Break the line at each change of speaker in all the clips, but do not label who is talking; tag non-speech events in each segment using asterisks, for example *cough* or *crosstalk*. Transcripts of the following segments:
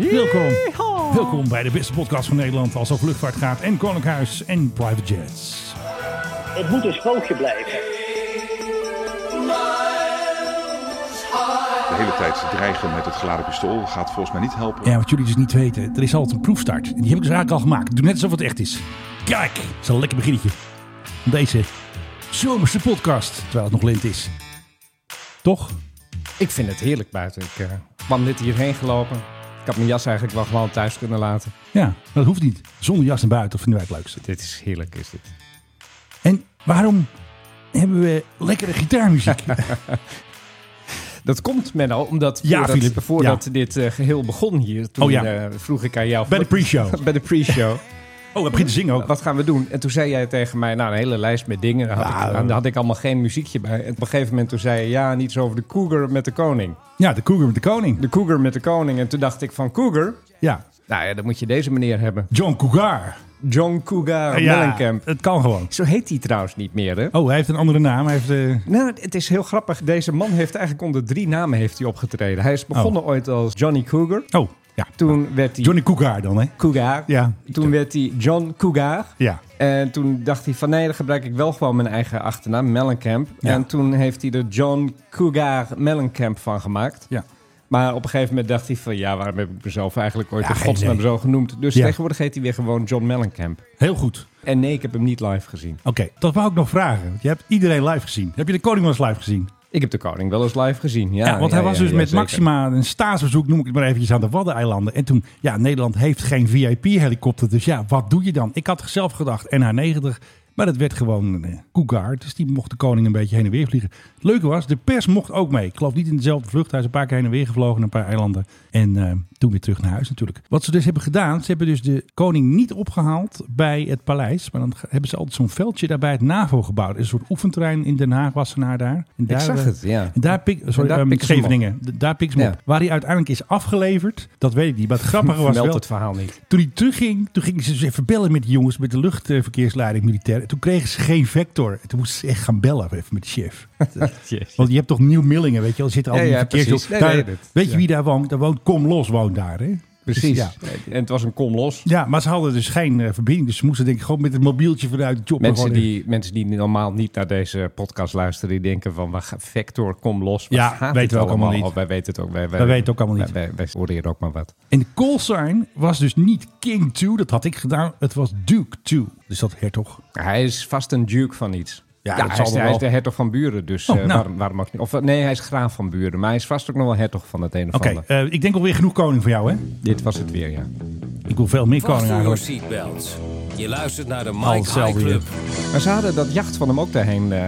Welkom. Welkom bij de beste podcast van Nederland als het over luchtvaart gaat en Koninkhuis en private jets.
Het moet een sprookje blijven.
De hele tijd dreigen met het geladen pistool gaat volgens mij niet helpen.
Ja, wat jullie dus niet weten, er is altijd een proefstart. En die heb ik dus eigenlijk al gemaakt. Doe net alsof het echt is. Kijk, dat is een lekker beginnetje. Van Deze zomerse podcast, terwijl het nog lint is. Toch?
Ik vind het heerlijk buiten. Ik eh, kwam dit hierheen gelopen. Ik had mijn jas eigenlijk wel gewoon thuis kunnen laten.
Ja, maar dat hoeft niet. Zonder jas naar buiten vinden wij het leukste.
Dit is heerlijk, is dit.
En waarom hebben we lekkere *laughs* gitaarmuziek?
Dat komt, Menno, omdat
Ja,
voordat,
Filip,
voordat dit eh, geheel begon hier, toen
Oh ja.
eh, vroeg ik aan jou...
Bij de pre-show.
*laughs* Bij de pre-show.
Oh, hij begint te zingen ook.
Wat gaan we doen? En toen zei jij tegen mij, nou, een hele lijst met dingen. Daar had,
Nou.
ik, daar had ik allemaal geen muziekje bij. En op een gegeven moment toen zei je, ja, niets over de cougar met de koning.
Ja, de Cougar met de Koning.
De cougar met de koning. En toen dacht ik van, cougar?
Ja,
Nou ja, dan moet je deze meneer hebben.
John Cougar.
John Cougar
ja,
Mellencamp.
het kan gewoon.
Zo heet hij trouwens niet meer, hè?
Oh, hij heeft een andere naam. Hij heeft, eh,
Nou, het is heel grappig. Deze man heeft eigenlijk onder drie namen heeft hij opgetreden. Hij is begonnen ooit als Johnny Cougar.
Oh, ja.
Toen werd hij
Johnny Cougar dan, hè?
Cougar.
Ja.
Toen werd hij John Cougar.
Ja.
En toen dacht hij van nee, dan gebruik ik wel gewoon mijn eigen achternaam, Mellencamp.
Ja.
En toen heeft hij er John Cougar Mellencamp van gemaakt.
Ja.
Maar op een gegeven moment dacht hij van ja, waarom heb ik mezelf eigenlijk ooit
Ja,
in
geen
godsnaam
idee.
zo genoemd? Dus
Ja.
tegenwoordig heet hij weer gewoon John Mellencamp.
Heel goed.
En nee, ik heb hem niet live gezien.
Oké, dat wou ik nog vragen. Want Je hebt iedereen live gezien. Heb je de Koning wel eens live gezien?
Ik heb de koning wel eens live gezien. Ja,
Ja, want hij
ja,
was
ja,
dus
ja,
met
zeker.
Maxima een staatsbezoek, noem ik het maar eventjes, aan de Waddeneilanden. En toen, ja, Nederland heeft geen VIP-helikopter. Dus ja, wat doe je dan? Ik had zelf gedacht NH90, maar dat werd gewoon eh Cougar. Dus die mocht de koning een beetje heen en weer vliegen. Het leuke was, de pers mocht ook mee. Ik geloof niet in dezelfde vlucht. Hij is een paar keer heen en weer gevlogen naar een paar eilanden. En eh, toen weer terug naar huis natuurlijk. Wat ze dus hebben gedaan, ze hebben dus de koning niet opgehaald bij het paleis. Maar dan hebben ze altijd zo'n veldje daar bij het NAVO-gebouw. Er is Een soort oefenterrein in Den Haag was ze naar daar. En daar
Ik zag
eh,
het, ja.
en daar pik, sorry,
daar
ehm,
pikken ze hem op.
Scheveningen. D- Daar pik ze hem
Ja.
op. Waar hij uiteindelijk is afgeleverd, dat weet ik niet.
*laughs*
Maar het grappige was
Vermeld
wel,
het verhaal *laughs* niet.
toen hij terugging, toen gingen ze dus even bellen met die jongens, met de luchtverkeersleiding militair. En toen kregen ze geen vector. En toen moesten ze echt gaan bellen even met de
*laughs*
chef. Want je hebt toch Nieuw Millingen, weet je wel? Er zitten al
Ja,
die
ja,
verkeers-
precies. Nee,
daar-
nee, dat-
Weet je
ja.
wie daar woont? Daar woont Kom Los, woont daar, hè? Dus
Precies.
Ja.
En het was een kom los.
Ja, maar ze hadden dus geen eh, verbinding. Dus ze moesten denk ik gewoon met het mobieltje vanuit de job.
Mensen
gewoon-
die, mensen die normaal niet naar deze podcast luisteren, die denken van, waar gaat Vector, kom los.
Ja,
gaat
weten
het
we ook allemaal niet.
Oh, wij weten het ook. Wij,
Wij weten het ook allemaal niet.
Wij, wij, wij oreren ook maar wat.
En de callsign was dus niet King 2, dat had ik gedaan. Het was Duke 2. Dus dat hertog.
Hij is vast een duke van iets.
Ja, dat
hij,
zal
is,
wel.
hij is de hertog van Buren, dus
Oh,
eh,
nou.
waarom, waarom ook niet? Of eh, nee, hij is graaf van Buren, maar hij is vast ook nog wel hertog van het een of
Oké,
ander.
eh, ik denk alweer genoeg koning voor jou, hè?
Dit was het weer, ja.
Ik wil veel meer koning
Fasten your
eigenlijk.
seatbelts. Je luistert naar de
Al
Mike High
hetzelfde hier.
Club.
Maar ze hadden dat jacht van hem ook daarheen eh,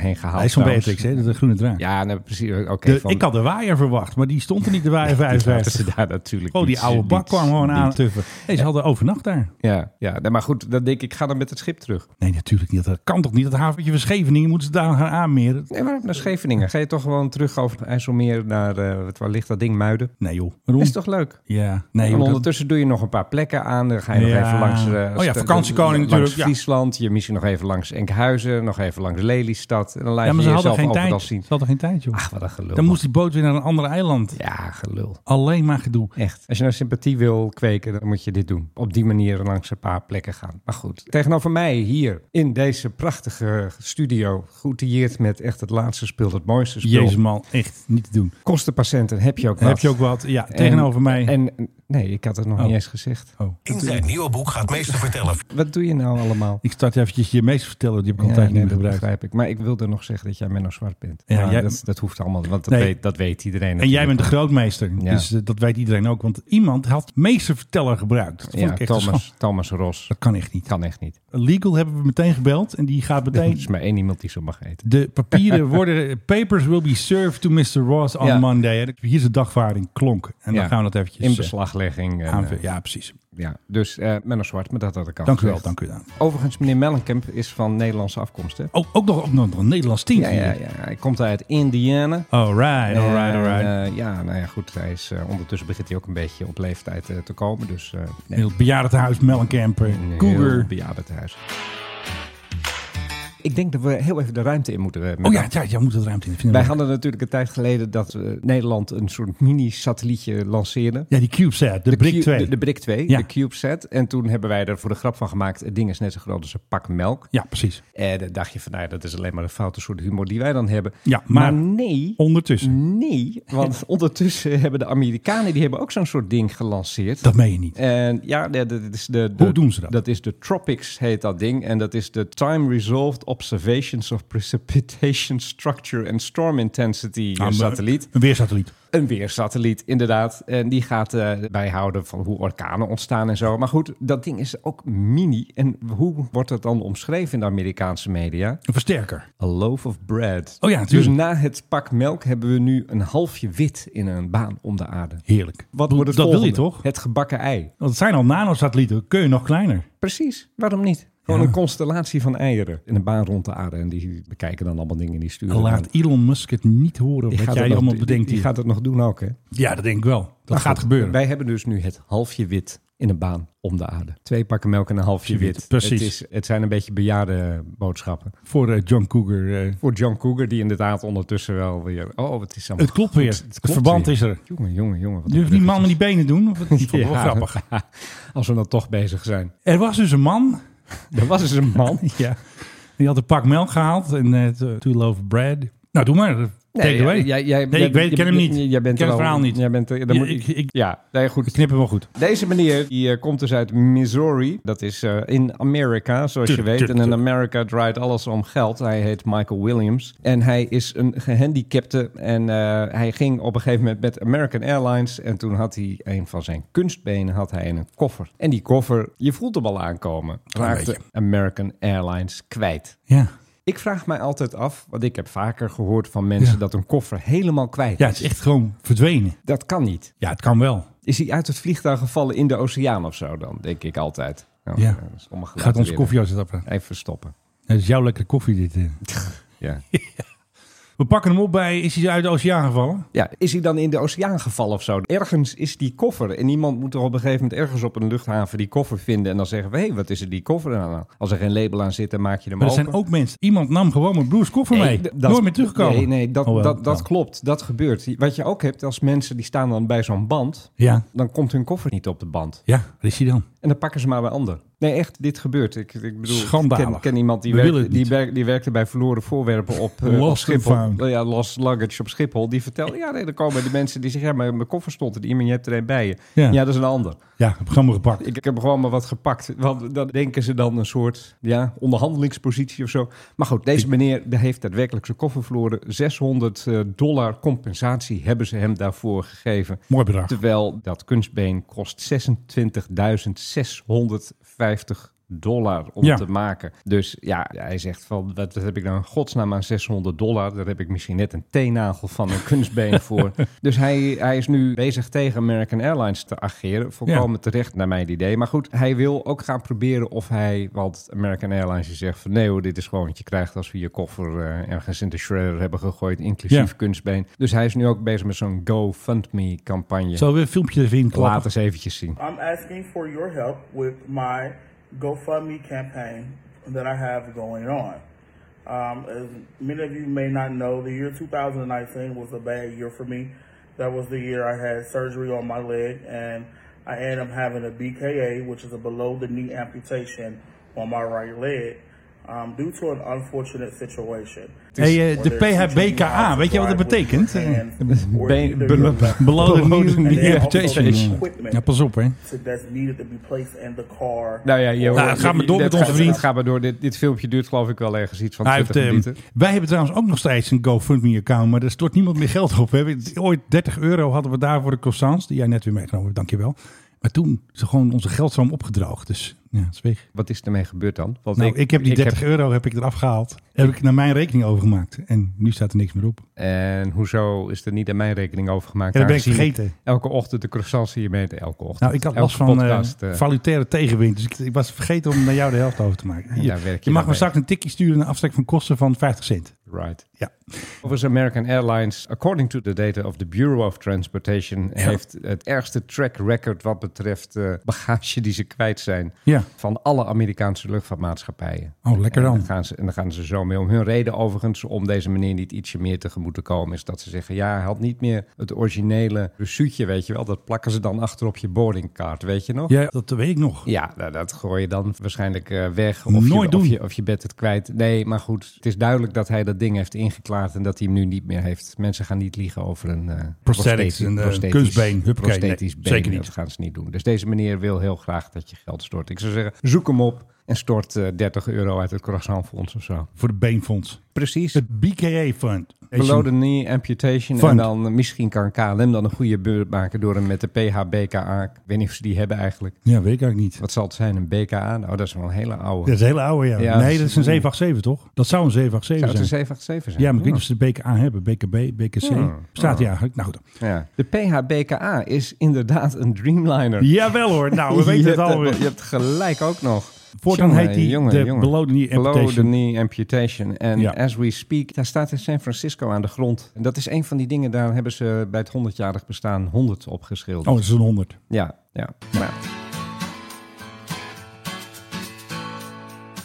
heen gehaald.
Hij is van
trouwens.
Beatrix, hè? De groene draak.
Ja, nee, precies. Oké.
De-
van-
ik
*laughs*
had de waaier verwacht, maar die stond er niet, de *laughs* waaier
Die laten
55.
ze daar natuurlijk
Oh, die
niet-
oude bak
niet-
kwam gewoon
niet-
aan tuffen. Nee, ze hadden overnacht daar.
Ja, ja nee, maar goed, dan denk ik, ik ga dan met het schip terug.
Nee, natuurlijk niet. Dat kan toch niet? Dat haventje van Scheveningen moeten ze daar gaan aanmeren.
Nee, waarom naar Scheveningen? Ga je toch gewoon terug over het IJsselmeer naar, eh, waar ligt dat ding, Muiden?
Nee joh, waarom?
Is toch leuk?
Ja, nee
en
joh. dat-
ondertussen doe je nog een paar plekken aan. Dan ga je
Ja.
nog even langs... eh,
Oh ja,
st-
vakantiekoning
langs
natuurlijk, ja.
Friesland. Je misschien nog even langs Enkhuizen. Nog even langs Lelystad. En dan laat
Ja, maar
je
ze hadden
jezelf
geen
overal
tijd. Ze
zien.
hadden geen tijd joh.
Ach, wat een gelul.
Dan moest die boot weer naar een ander eiland.
Ja, gelul.
Alleen maar gedoe.
Echt. Als je nou sympathie wil kweken, dan moet je dit doen. Op die manier langs een paar plekken gaan. Maar goed, tegenover mij hier in deze prachtige studio, goedieerd met echt het laatste spul, het mooiste spul.
Jezus man, echt niet te doen.
Kostenpatiënten heb je ook wat.
Heb je ook wat? Ja,
En-
tegenover mij.
En nee, ik had het nog
Oh.
niet eens gezegd.
Oh.
In zijn nieuwe boek gaat meester vertellen.
Wat doe je nou allemaal?
Ik start eventjes je meester vertellen, die heb ik al
Ja,
een tijdje
nee,
niet
dat
meer gebruikt.
begrijp ik. Maar ik wilde nog zeggen dat jij Menno Zwart bent.
Ja,
Ja,
jij-
dat, dat hoeft allemaal, want dat,
Nee.
weet, dat weet iedereen.
En jij
natuurlijk.
bent de grootmeester,
Ja.
dus eh, dat weet iedereen ook. Want iemand had meesterverteller gebruikt. Dat vond ik
Ja,
echt een schande.
Thomas, Thomas Ros.
Dat kan echt niet.
Kan echt niet.
Legal hebben we meteen gebeld en die gaat
Er
meteen...
is maar één iemand die zo mag eten.
De papieren *laughs* worden... Papers will be served to Mr. Ross on
Ja.
Monday. En Hier is de dagvaarding, klonk. En dan
Ja.
gaan we dat eventjes...
In
eh,
beslaglegging. en, eh,
aanvullen. Ja, precies.
Ja, dus eh Menno Zwart, maar dat had ik al
Dank u wel,
gezegd.
dank u wel.
Overigens, meneer Mellencamp is van Nederlandse afkomst, hè?
Oh, ook nog, ook nog een Nederlands team.
Ja, ja, ja. Hij komt uit Indiana.
Alright, alright,
En,
alright.
eh, ja, nou ja, goed. Hij is, eh, ondertussen begint hij ook een beetje op leeftijd eh, te komen. Dus eh nee,
Heel bejaardentehuis, Mellencamper,
een heel
Cougar.
bejaardentehuis. Ik denk dat we heel even de ruimte in moeten. eh, met
Oh ja,
elkaar.
ja, jij moet het ruimte in. Dat vinden
Wij
we
hadden natuurlijk een tijd geleden dat eh, Nederland een soort mini-satellietje lanceerde.
leuk. Ja, die CubeSat, de, Brick
Cu-
2.
De, de Brick 2,
Ja.
de CubeSat. En toen hebben wij er voor de grap van gemaakt, het ding is net zo groot als een pak melk.
Ja, precies.
En dan dacht je van, nou ja, dat is alleen maar een foute soort humor die wij dan hebben.
Ja,
maar,
maar-
nee,
Ondertussen.
nee.
*laughs*
Want ondertussen hebben de Amerikanen, die hebben ook zo'n soort ding gelanceerd.
Dat meen je niet.
En ja, de- de- dat is de, de-
Hoe doen ze dat?
Dat is de Tropics, heet dat ding. En dat is de Time Resolved Observations of Precipitation Structure and Storm Intensity eh,
Ah, maar-
satelliet.
Een weersatelliet.
Een weersatelliet, inderdaad. En die gaat eh, bijhouden van hoe orkanen ontstaan en zo. Maar goed, dat ding is ook mini. En hoe wordt dat dan omschreven in de Amerikaanse media?
Een versterker.
A loaf of bread.
Oh ja,
dus
natuurlijk.
na het pak melk hebben we nu een halfje wit in een baan om de aarde.
Heerlijk.
Dus Wat wordt het
dat wil je
volgende?
toch?
Het gebakken ei.
Want het zijn al nanosatellieten. Kun je nog kleiner?
Precies, waarom niet? Gewoon
Ja.
een constellatie van eieren in een baan rond de aarde. En die bekijken dan allemaal dingen die sturen.
Laat
dan.
Elon Musk het niet horen
Die
wat
gaat
jij
het nog-
allemaal
die-
bedenkt.
Die
hier.
gaat het nog doen ook, hè?
Ja, dat denk ik wel. Dat
Maar
gaat
Nou, goed,
gebeuren.
Wij hebben dus nu het halfje wit in een baan om de aarde. Twee pakken melk en een halfje
Precies.
wit.
Precies.
Het, is, het zijn een beetje bejaarde boodschappen.
Voor eh, John Cougar. eh,
Voor John Cougar, die inderdaad ondertussen wel weer... Oh, het
*laughs*
is allemaal
het klopt weer.
goed.
Het, verband
weer.
is er.
Jongen, jongen, jongen. wat
Je hoeft
een
die man met die benen doen. Of,
*laughs*
dat vond ik wel
Ja.
grappig.
Als we dan toch bezig zijn.
Er was dus een man.
Er was dus een *laughs* man.
Ja. Die had een pak melk gehaald. En eh two loaf of bread. Nou, doe maar. Take it away.
jij, jij,
Nee,
jij
ik
bent-
weet- ik ken
je-
hem niet.
je- Jij bent
Ik ken het
er al-
verhaal niet.
Jij bent, er- dan
Ja,
moet,
ik- ik-
ja, nee,
Ik
goed.
knip hem wel goed.
Deze meneer die, eh, komt dus uit Missouri. Dat is eh, in Amerika, zoals
Tuurlijk,
je weet.
tuurlijk,
en in
tuurlijk.
Amerika draait alles om geld. Hij heet Michael Williams. En hij is een gehandicapte. En eh, hij ging op een gegeven moment met American Airlines. En toen had hij een van zijn kunstbenen had hij in een koffer. En die koffer, je voelt hem al aankomen,
Klein
raakte
beetje.
American Airlines kwijt.
Ja.
Ik vraag mij altijd af, want ik heb vaker gehoord van mensen
Ja.
dat een koffer helemaal kwijt
ja,
is.
het is echt gewoon verdwenen.
Dat kan niet.
Ja, het kan wel.
Is hij uit het vliegtuig gevallen in de oceaan of zo dan? Denk ik altijd. Nou,
Ja.
eh, dat is allemaal
Gaat
gelaten
onze
weer.
koffieapparaat.
Even verstoppen.
Dat is jouw lekkere koffie dit. eh. *laughs*
Ja.
We pakken hem op bij... Is hij uit de oceaan gevallen?
ja, is hij dan in de oceaan gevallen of zo? Ergens is die koffer. En iemand moet er op een gegeven moment ergens op een luchthaven die koffer vinden. En dan zeggen we, hé, wat is er die koffer dan aan? Nou, Als er geen label aan zit, dan maak je hem
Maar er
open.
zijn ook mensen. Iemand nam gewoon mijn broers koffer
Nee,
mee.
d- dat-
Nooit meer teruggekomen.
Nee, nee dat,
Oh, wel,
dat, dat
wel.
klopt. Dat gebeurt. Wat je ook hebt, als mensen die staan dan bij zo'n band...
Ja,
dan komt hun koffer niet op de band.
ja. Waar is hij dan?
En dan pakken ze maar bij ander. Nee, echt, dit gebeurt. Ik, ik bedoel,
Schandalig.
Ik ken, ken iemand die,
We willen
werkte,
het
die,
niet.
werk- die werkte bij verloren voorwerpen op, eh,
Lost
op
and
Schiphol.
found.
Nou Ja, lost luggage op Schiphol. Die vertelde, ja, nee, dan komen de mensen die zeggen, ja, maar mijn koffer stond er niet, maar je hebt er een bij je.
Ja.
Ja, dat is een ander.
Ja, ik heb gewoon maar gepakt.
Ik, ik heb gewoon maar wat gepakt. Want dan denken ze dan een soort ja, onderhandelingspositie of zo. Maar goed, deze meneer die heeft daadwerkelijk zijn koffer verloren. 600 dollar compensatie hebben ze hem daarvoor gegeven.
Mooi bedrag.
Terwijl dat kunstbeen kost 26.650 dollar om
Ja.
te maken. Dus ja, hij zegt van, wat, wat heb ik nou in godsnaam aan 600 dollar? Daar heb ik misschien net een teennagel van een
*laughs*
kunstbeen voor. Dus hij, hij is nu bezig tegen American Airlines te ageren. Volkomen terecht naar mijn idee. Maar goed, hij wil ook gaan proberen of hij, want American Airlines die zegt van, nee hoor, dit is gewoon wat je krijgt als we je koffer eh, ergens in de shredder hebben gegooid, inclusief
Ja.
kunstbeen. Dus hij is nu ook bezig met zo'n GoFundMe campagne.
Zullen we een filmpje erin
Laat
klappen?
eens eventjes zien.
I'm asking for your help with my GoFundMe campaign that I have going on. Um, as many of you may not know, the year 2019 was a bad year for me. That was the year I had surgery on my leg, and I ended up having a BKA, which is a below the knee amputation on my right leg, um, due to an unfortunate situation.
Hey, eh, de
Whether it's
PHBKA, weet je wat dat betekent? Eh,
hand
*laughs*
or
Been-
either
below-
your-
Below
Below
the
the
knee
knee
amputation.
amputation.
Ja, pas op, hè.
to- that's needed to be placed in the car.
Nou ja, je
Nou,
hoort-
ga maar door
dit
met onze
gaat-
vriend.
dit Ga maar door. Dit, dit filmpje duurt geloof ik wel ergens iets van
Hij heeft,
20
ehm,
minuten.
wij hebben trouwens ook nog steeds een GoFundMe-account, maar daar stort niemand meer geld op. We hebben ooit 30 euro hadden we daar voor de croissants, die jij net weer meegenomen hebt, dankjewel. Maar toen is er gewoon onze geldstroom opgedroogd, dus ja, het is weg.
Wat is ermee gebeurd dan? Want
Nou, ik, heb die 30 euro heb ik eraf gehaald, heb ik naar mijn rekening overgemaakt en nu staat er niks meer op.
En hoezo is er niet aan mijn rekening overgemaakt?
Ja, dat ben ik
Aangezien
vergeten.
Elke ochtend de croissants hier mee eten. Elke ochtend.
Nou, ik had
Elke
last van eh,
podcast, eh,
valutaire tegenwind. Dus ik, ik was vergeten om naar jou de helft over te maken.
Ja, werk je
je
dan
mag me
mee.
straks een tikje sturen naar aftrek van kosten van 50 cent.
right.
Ja.
Overigens, American Airlines, according to the data of the Bureau of Transportation, heeft het ergste track record wat betreft eh, bagage die ze kwijt zijn.
Ja. Ja.
van alle Amerikaanse luchtvaartmaatschappijen.
Oh, lekker
En
dan.
gaan ze, en dan gaan ze zo mee om. Hun reden overigens om deze meneer niet ietsje meer tegemoet te komen... is dat ze zeggen, ja, hij had niet meer het originele suitje, weet je wel. Dat plakken ze dan achter op je boardingkaart, weet je nog?
Ja, dat weet ik nog.
Ja, nou, dat gooi je dan waarschijnlijk eh, weg. Of je,
Nooit
of
doen.
je- of je bent het kwijt. Nee, maar goed. Het is duidelijk dat hij dat ding heeft ingeklaard en dat hij hem nu niet meer heeft. Mensen gaan niet liegen over een eh
Prosthetics,
prostheti-
een, eh,
prosthetisch-
kunstbeen. Huppakee, nee,
prosthetisch been.
zeker niet.
Dat gaan ze niet doen. Dus deze meneer wil heel graag dat je geld stort. Ik zou zeggen, zoek hem op en stort eh, 30 euro uit het croissantfonds of zo.
Voor de Beenfonds.
Precies.
Het BKA Fund.
Below the knee amputation.
Fund.
En dan eh, misschien kan KLM dan een goede beurt maken door hem met de PHBKA. Ik weet niet of ze die hebben eigenlijk.
Ja, weet ik eigenlijk niet.
Wat zal het zijn? Een BKA? Nou, dat is wel een hele oude.
Dat is een hele oude, ja.
Ja,
nee,
dat
dat
is-
is een 787, toch? Dat zou een 787
Zou het
zijn.
een Oh. 787 zijn?
Ja, maar ik weet niet of ze de BKA hebben. BKB, BKC. Staat die eigenlijk? Nou goed.
Ja. De PHBKA is inderdaad een Dreamliner.
Jawel hoor.
*laughs*
Nou, we weten het
je hebt-
alweer.
Je hebt gelijk ook nog.
Voortaan
Jongen,
heet die
jongen,
de
jongen.
below the knee
Below the
amputation.
knee amputation. En
Ja.
as we speak, daar staat in San Francisco aan de grond. En dat is een van die dingen, daar hebben ze bij het 100-jarig bestaan 100 op
Oh,
geschilderd.
dat is een 100.
Ja, ja. Maar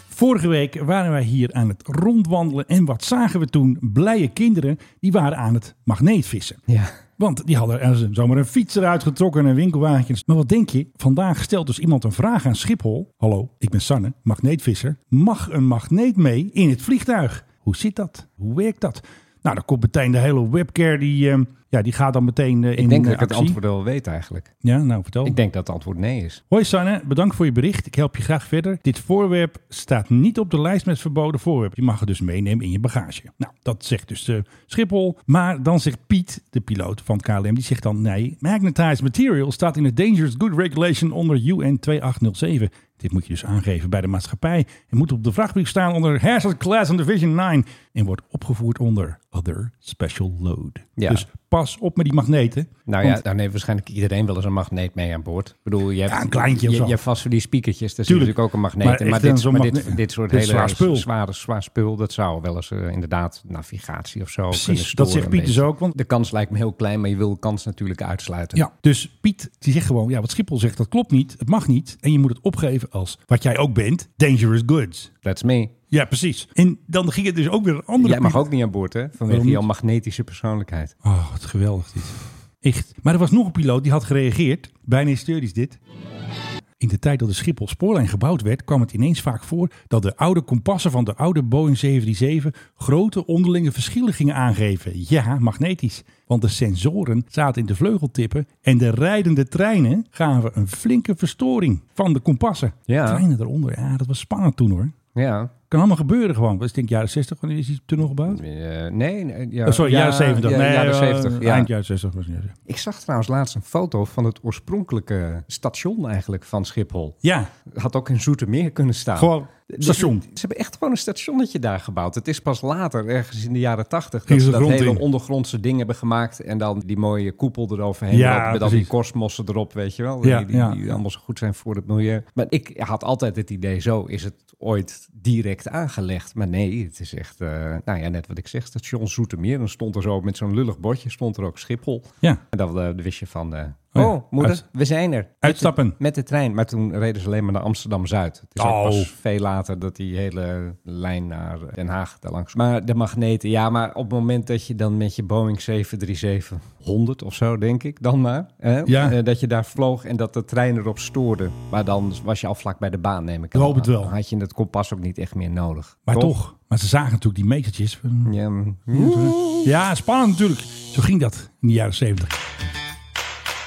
Vorige week waren wij hier aan het rondwandelen. En wat zagen we toen? Blije kinderen, die waren aan het magneetvissen.
ja.
Want die hadden er zomaar een fiets eruit getrokken en een winkelwagentje. Maar wat denk je? Vandaag stelt dus iemand een vraag aan Schiphol. Hallo, ik ben Sanne, magneetvisser. Mag een magneet mee in het vliegtuig? Hoe zit dat? Hoe werkt dat? Nou, dan komt meteen de hele webcare. Die, ehm, ja, die gaat dan meteen eh, in
Ik denk
eh,
dat ik het
actie.
antwoord wel weet eigenlijk.
Ja, nou vertel.
Ik denk dat het antwoord nee is.
Hoi Sanne, bedankt voor je bericht. Ik help je graag verder. Dit voorwerp staat niet op de lijst met verboden voorwerpen. Je mag het dus meenemen in je bagage. Nou, dat zegt dus eh, Schiphol. Maar dan zegt Piet, de piloot van KLM, die zegt dan... Nee, magnetized material staat in de Dangerous Good Regulation onder UN 2807. Dit moet je dus aangeven bij de maatschappij. En moet op de vrachtbrief staan onder Hazard Class and Division 9. En wordt opgevoerd onder Other Special Load.
Ja.
Dus pas op met die magneten.
Nou
Want-
ja, daar heeft waarschijnlijk iedereen wel eens een magneet mee aan boord. Ik bedoel, je hebt,
Ja, een kleintje of
je,
zo.
je hebt vast voor die spiekertjes, daar zit
Tuurlijk.
natuurlijk ook een magneet
Maar
in.
echt
Maar,
een
dit,
zo'n
maar
magne-
dit, dit soort
dit is
hele
zwaar spul.
zware zwaar spul, dat zou wel eens eh, inderdaad navigatie of zo kunnen
Precies,
storen
dat zegt
een
Piet dus
beetje.
ook. Want
De kans lijkt me heel klein, maar je wil de kans natuurlijk uitsluiten.
Ja, dus Piet die zegt gewoon, ja, wat Schiphol zegt, dat klopt niet, het mag niet. En je moet het opgeven als, wat jij ook bent, dangerous goods.
That's me.
Ja, precies. En dan ging het dus ook weer een andere
Jij mag
Piet-
ook niet aan boord, hè? Vanwege
Waarom
jouw
niet?
magnetische persoonlijkheid.
Oh, wat geweldig dit. Echt. Maar er was nog een piloot die had gereageerd. Bijna hysterisch dit. In de tijd dat de Schiphol spoorlijn gebouwd werd, kwam het ineens vaak voor dat de oude kompassen van de oude Boeing 737 grote onderlinge verschillen gingen aangeven. Ja, magnetisch. Want de sensoren zaten in de vleugeltippen en de rijdende treinen gaven een flinke verstoring van de kompassen.
Ja.
Treinen eronder, ja, dat was spannend toen hoor.
Ja.
Kan allemaal gebeuren gewoon. Dat is denk ik jaren 60, wanneer is die tunnel gebouwd?
Eh, nee, nee. Ja,
Oh, sorry,
ja,
jaren 70.
Ja,
nee,
jaren
eh,
70. ja.
Eind jaren 60. was het.
Ik zag trouwens laatst een foto van het oorspronkelijke station eigenlijk van Schiphol.
Ja,
had ook in Zoetermeer kunnen staan.
Gewoon station.
Ze, ze hebben echt gewoon een stationnetje daar gebouwd. Het is pas later, ergens in de jaren tachtig,
Gingen
dat ze
ze
dat
de grond
hele
in.
ondergrondse ding hebben gemaakt. En dan die mooie koepel eroverheen.
Ja,
loopt met al die
precies.
kosmossen erop, weet je wel.
Ja,
die, die,
ja.
die allemaal zo goed zijn voor het milieu. Maar ik had altijd het idee, zo is het ooit direct aangelegd. Maar nee, het is echt, eh, nou ja, net wat ik zeg, station Zoetermeer. Dan stond er zo met zo'n lullig bordje, stond er ook Schiphol.
ja.
En dan eh, wist je van, eh,
ja.
oh, moeder,
Uit-
we zijn er. Met
Uitstappen.
de- Met de trein. Maar toen reden ze alleen maar naar Amsterdam-Zuid. Het is ook
Oh.
pas veel later dat die hele lijn naar Den Haag daar langs. Maar de magneten, ja, maar op het moment dat je dan met je Boeing 737-100 of zo, denk ik, dan maar. Hè,
Ja.
eh, dat je daar vloog en dat de trein erop stoorde. Maar dan was je al vlak bij de baan, neem ik aan.
Ik hoop het wel.
Dan had je het kompas ook niet echt meer nodig.
Maar toch? maar ze zagen natuurlijk die metertjes.
Ja, mm.
Ja, spannend natuurlijk. Zo ging dat in de jaren zeventig.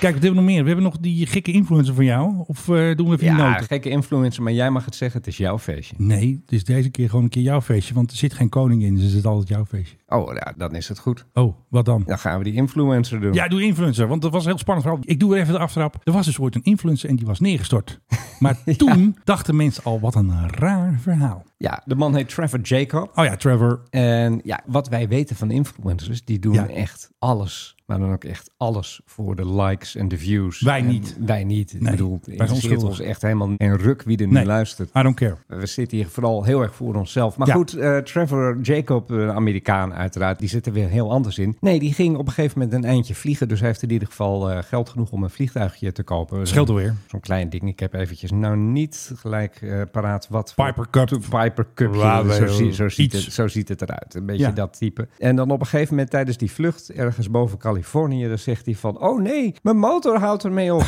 Kijk, wat hebben we nog meer? We hebben nog die gekke influencer van jou. Of eh, doen we even die
ja
noten?
gekke influencer, maar jij mag het zeggen, het is jouw feestje.
Nee, het is deze keer gewoon een keer jouw feestje. Want er zit geen koning in, dus het is altijd jouw feestje.
Oh, ja, dan is het goed.
Oh, wat dan?
Dan gaan we die influencer doen.
Ja, doe influencer, want dat was een heel spannend verhaal. Ik doe weer even de aftrap. Er was dus ooit een influencer en die was neergestort.
*laughs*
Maar toen dachten mensen al, wat een raar verhaal.
Ja, de man heet Trevor Jacob.
Oh ja, Trevor.
En ja, wat wij weten van influencers, die doen
Ja.
echt alles. Maar dan ook echt alles voor de likes en de views.
Wij
En
niet.
Wij niet. Ik
Nee,
bedoel,
wij
het
zijn
interesseert ons
onschuldig.
echt helemaal en ruk wie er nu
Nee.
luistert.
I don't care.
We zitten hier vooral heel erg voor onszelf. Maar
Ja.
goed, eh, Trevor Jacob, een Amerikaan uit uiteraard, die zit er weer heel anders in. Nee, die ging op een gegeven moment een eindje vliegen. Dus hij heeft in ieder geval eh, geld genoeg om een vliegtuigje te kopen.
Scheelt alweer.
Zo'n klein ding. Ik heb eventjes nou niet gelijk eh, paraat wat. voor-
Piper Cup.
Piper Cup.
Laten we
zo, zie- zo,
iets.
ziet het, zo ziet het eruit. Een beetje
Ja.
dat type. En dan op een gegeven moment tijdens die vlucht ergens boven Californië, dan zegt hij van, oh nee, mijn motor houdt
*laughs*
ermee op.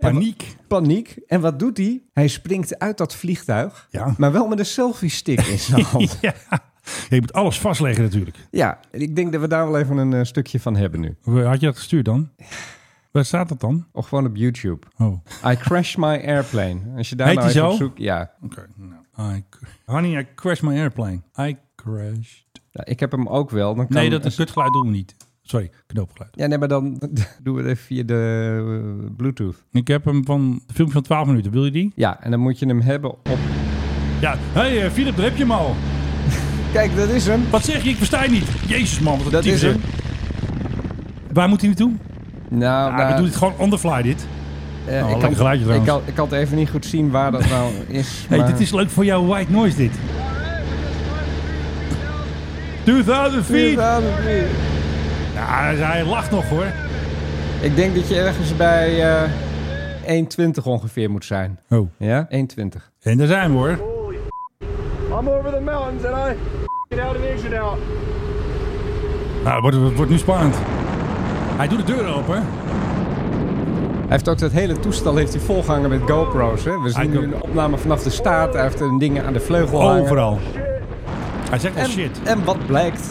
Paniek.
Paniek. En wat doet hij? Hij springt uit dat vliegtuig,
Ja.
maar wel met een selfie stick
*laughs*
in zijn hand.
Ja. Je moet alles vastleggen natuurlijk.
ja, ik denk dat we daar wel even een eh, stukje van hebben nu.
Had je dat gestuurd dan? Waar staat dat dan?
Of gewoon op YouTube.
Oh.
I crash my airplane. Als je daar
Heet
nou
die
even op
zo?
zoekt. Ja.
Oké. nou. I cr- Honey, I crashed my airplane. I crashed.
ja, ik heb hem ook wel. Dan kan
Nee, dat is het geluid doen we niet. Sorry, knoopgeluid.
Ja, nee, maar dan *laughs* doen we het even via de eh, Bluetooth.
Ik heb hem van een filmpje van 12 minuten. Wil je die?
Ja, en dan moet je hem hebben op...
Ja. Hé, hey, eh, Philip, daar heb je hem al.
Kijk, dat is hem.
Wat zeg je? Ik versta je niet. Jezus man, wat een
Dat is
tyfus, hè? Waar moet hij naartoe?
Nou,
Ah,
nou,
we doen het gewoon on the fly dit.
eh, ik,
Oh, lekker
kan,
geluidje
ik,
trouwens.
kan, ik kan het even niet goed zien waar dat
*laughs*
nou is.
Hey,
maar-
dit is leuk voor jouw white noise dit. 2000 feet! Ja, hij lacht nog hoor.
Ik denk dat je ergens bij eh 1,20 ongeveer moet zijn.
Oh.
Ja, 1,20.
En daar zijn we hoor.
I'm over the mountains and I get out and exit out.
Nou, het wordt, het wordt nu spannend. Hij doet de deur open.
Hij heeft ook dat hele toestel heeft hij volgehangen met GoPro's. Hè? We
Hij
zien nu
kan-
een opname vanaf de staat. Hij heeft een dingen aan de vleugel hangen.
Overal. Hij zegt al
En,
shit.
en wat blijkt?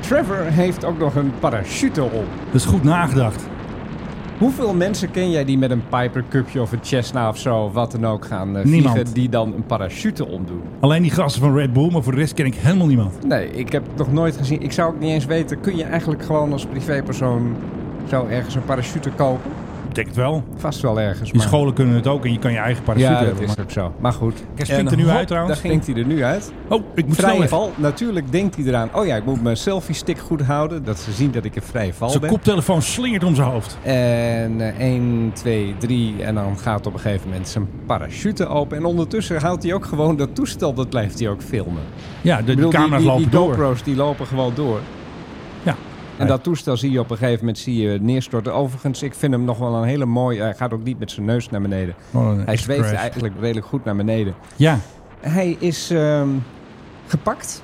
Trevor heeft ook nog een parachute op.
Dat is goed nagedacht.
Hoeveel mensen ken jij die met een Piper Cupje of een Cessna of zo, of wat dan ook, gaan eh,
Niemand.
vliegen die dan een parachute omdoen?
Alleen die gasten van Red Bull, maar voor de rest ken ik helemaal niemand.
Nee, ik heb het nog nooit gezien. Ik zou ook niet eens weten, kun je eigenlijk gewoon als privépersoon zo ergens een parachute kopen?
Ik denk het wel.
Vast wel ergens,
Die
maar...
scholen kunnen het ook en je kan je eigen parachute
ja, dat
hebben.
is
maar-
ook zo. Maar goed.
Hij springt
En
er nu
hop,
uit trouwens.
Daar ging hij er nu uit.
Oh, ik moet snel
Vrije
even.
val. Natuurlijk denkt hij eraan, oh ja, ik moet mijn selfie stick goed houden. Dat ze zien dat ik een vrije val
Zijn
ben.
koptelefoon slingert om zijn hoofd.
En eh, 1, 2, 3. En dan gaat op een gegeven moment zijn parachute open. En ondertussen houdt hij ook gewoon dat toestel, dat blijft hij ook filmen.
Ja, de, de
Ik bedoel, die-
camera's
die,
lopen
die,
door.
GoPro's die lopen gewoon door.
Ja.
En dat toestel zie je op een gegeven moment zie je neerstorten. Overigens, ik vind hem nog wel een hele mooie. Hij gaat ook niet met zijn neus naar beneden.
Oh, een
Hij zweeft
crash.
eigenlijk redelijk goed naar beneden.
Ja,
Hij is ehm, gepakt.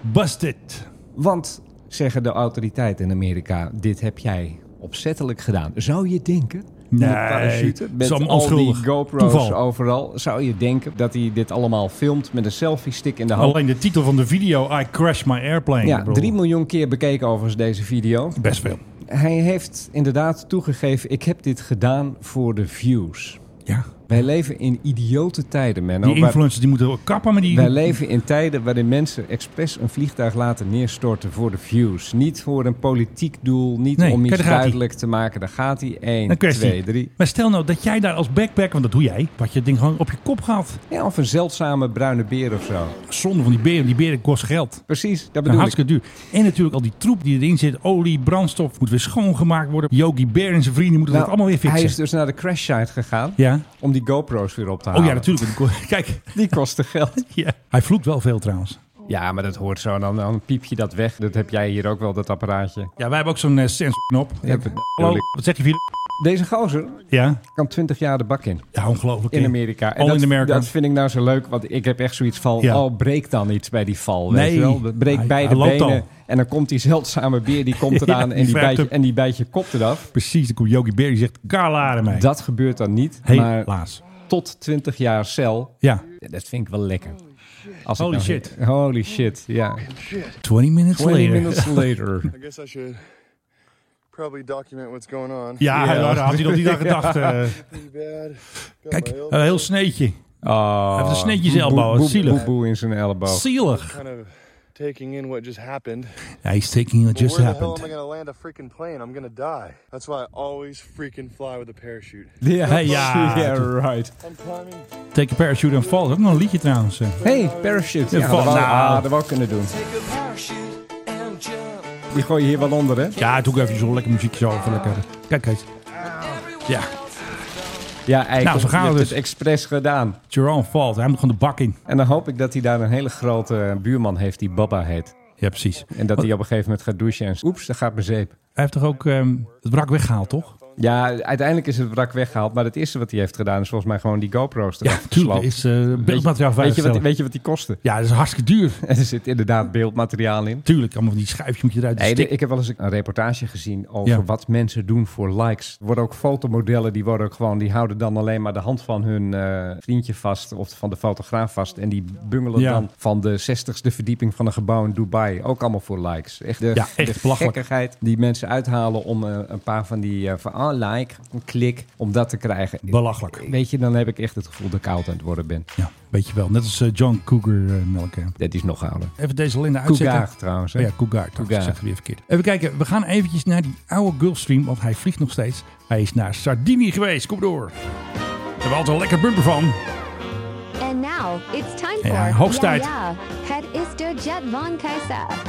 busted.
Want, zeggen de autoriteiten in Amerika, dit heb jij opzettelijk gedaan. Zou je denken,
Nee,
met parachute,
is
met
allemaal
al die
onschuldig.
GoPro's
Toeval.
overal, zou je denken dat hij dit allemaal filmt met een selfie-stick in de hand?
Alleen de titel van de video, I crashed my airplane.
Oh. ja,
Ik bedoel,
3 miljoen keer bekeken overigens deze video.
Best veel.
Hij heeft inderdaad toegegeven, ik heb dit gedaan voor de views.
Ja.
Wij leven in idiote tijden, Menno.
Die
waar-
influencers die moeten kappen met die...
Wij leven in tijden waarin mensen expres een vliegtuig laten neerstorten voor de views. Niet voor een politiek doel, niet
Nee,
om
kijk,
iets
daar gaat-ie.
duidelijk te maken. Daar gaat hij. 1,
Een kwestie.
2, 3.
Maar stel nou dat jij daar als backpacker, want dat doe jij, wat je ding gewoon op je kop gaat.
Ja, of een zeldzame bruine beer of zo.
Zonde van die beren, die beren kost geld.
Precies, dat
Dat is
bedoel ik.
hartstikke duur. En natuurlijk al die troep die erin zit, olie, brandstof, moet weer schoongemaakt worden. Yogi Bear en zijn vrienden moeten
Nou,
dat allemaal weer fixen.
Hij is dus naar de crash site gegaan
Ja.
om die GoPro's weer op te halen.
Oh ja, natuurlijk. want die ko- *laughs* Kijk,
Die kosten geld.
ja. hij vloekt wel veel trouwens.
Ja, maar dat hoort zo. Dan, dan piep je dat weg. Dat heb jij hier ook wel, dat apparaatje.
Ja, wij hebben ook zo'n eh, sensorknop.
Ja, dat bedoel
Hallo,
ik.
wat zeg je, Philip?
Deze gozer
Ja,
kan 20 jaar de bak in.
ja ongelooflijk.
In
hè?
Amerika.
All
dat,
in America.
dat vind ik nou zo leuk, want ik heb echt zoiets van...
Ja.
oh, breek dan iets bij die val,
Nee.
weet je wel. Breek
Hij-
beide
hij loopt
benen
al.
en dan komt die zeldzame beer, die komt
*laughs* Ja,
eraan
die
en, die
verft
bijt je,
hem.
en die bijt je kop eraf.
Precies, dan komt Yogi Bear die zegt, karlaren mij.
Dat gebeurt dan niet, maar
Helaas.
tot 20 jaar cel,
Ja.
ja, dat vind ik wel lekker. Als ik
Holy
nou-
shit.
Holy shit, ja.
20 minutes
20
later.
minutes later.
*laughs*
I guess I should probably document what's going on.
Ja,
Ja.
nou, daar had hij nog niet aan gedacht. eh.
*laughs*
Pretty bad. Got
Kijk,
my elbow
een heel sneetje.
Oh,
Hij heeft een sneetjes
boe- boe-
elbow,
boe-
zielig.
boe- boe in zijn elleboog.
Zielig.
kind of taking in what just happened.
Hij is taking what just
Where the hell am I
happened.
going to land a freaking plane? I'm going to die. That's why I always freaking fly with a parachute.
Ja,
ja.
*laughs* ja, right.
I'm climbing.
Take a parachute and fall. Dat is ook nog een liedje trouwens. eh.
Hey, parachute. Ja,
Ja,
dat
nou.
wou- ah, dat wou ik kunnen doen. Die gooi je hier wel onder, hè?
Ja, doe ik even zo lekker muziekje zo. Even lekker. Kijk eens. Ja,
Ja, eigenlijk.
Nou, zo gaan
je
we
hebt
dus.
het expres gedaan.
Jerome valt. Hij moet gewoon de bak in.
En dan hoop ik dat hij daar een hele grote eh, buurman heeft die Baba heet.
ja, precies.
En dat hij op een gegeven moment gaat douchen en oeps, daar gaat mijn zeep.
Hij heeft toch ook ehm, het wrak weggehaald, toch?
Ja, uiteindelijk is het wrak weggehaald. Maar het eerste wat hij heeft gedaan is volgens mij gewoon die GoPro's
Ja,
eraf
natuurlijk.
gesloopt.
Is eh beeldmateriaal
weet, je wat,
veiligstellen.
weet je wat die kostte? *laughs*
Ja, dat is hartstikke duur.
Er zit inderdaad beeldmateriaal in.
Tuurlijk, allemaal van die schuifje moet je eruit. Dus
Nee,
Nee,
de- Dus ik heb wel eens een reportage gezien over
Ja.
wat mensen doen voor likes. Er worden ook fotomodellen, die, worden ook gewoon, die houden dan alleen maar de hand van hun eh, vriendje vast of van de fotograaf vast. En die bungelen
Ja.
dan van de 60ste verdieping van een gebouw in Dubai. Ook allemaal voor likes. Echt de,
Ja, echt
de
belachelijk.
gekkigheid die mensen uithalen om eh, een paar van die eh, van ah, like, een klik, om dat te krijgen.
Belachelijk.
Weet je, dan heb ik echt het gevoel dat ik oud aan het worden ben.
Ja, weet je wel. Net als eh, John Cougar eh, Mellencamp.
Dat is nog ouder.
Even deze Linda uitzetten.
Cougar trouwens. Hè?
Oh ja, Cougar. Dat
Cougar.
zeg ik weer verkeerd. Even kijken. We gaan eventjes naar die oude Gulfstream, want hij vliegt nog steeds. Hij is naar Sardinië geweest. Kom door. Daar hebben we altijd een lekker bumper van.
And now it's time
Ja,
for
hoogstijd.
Ja, ja. Het is de Jet van Kaiser.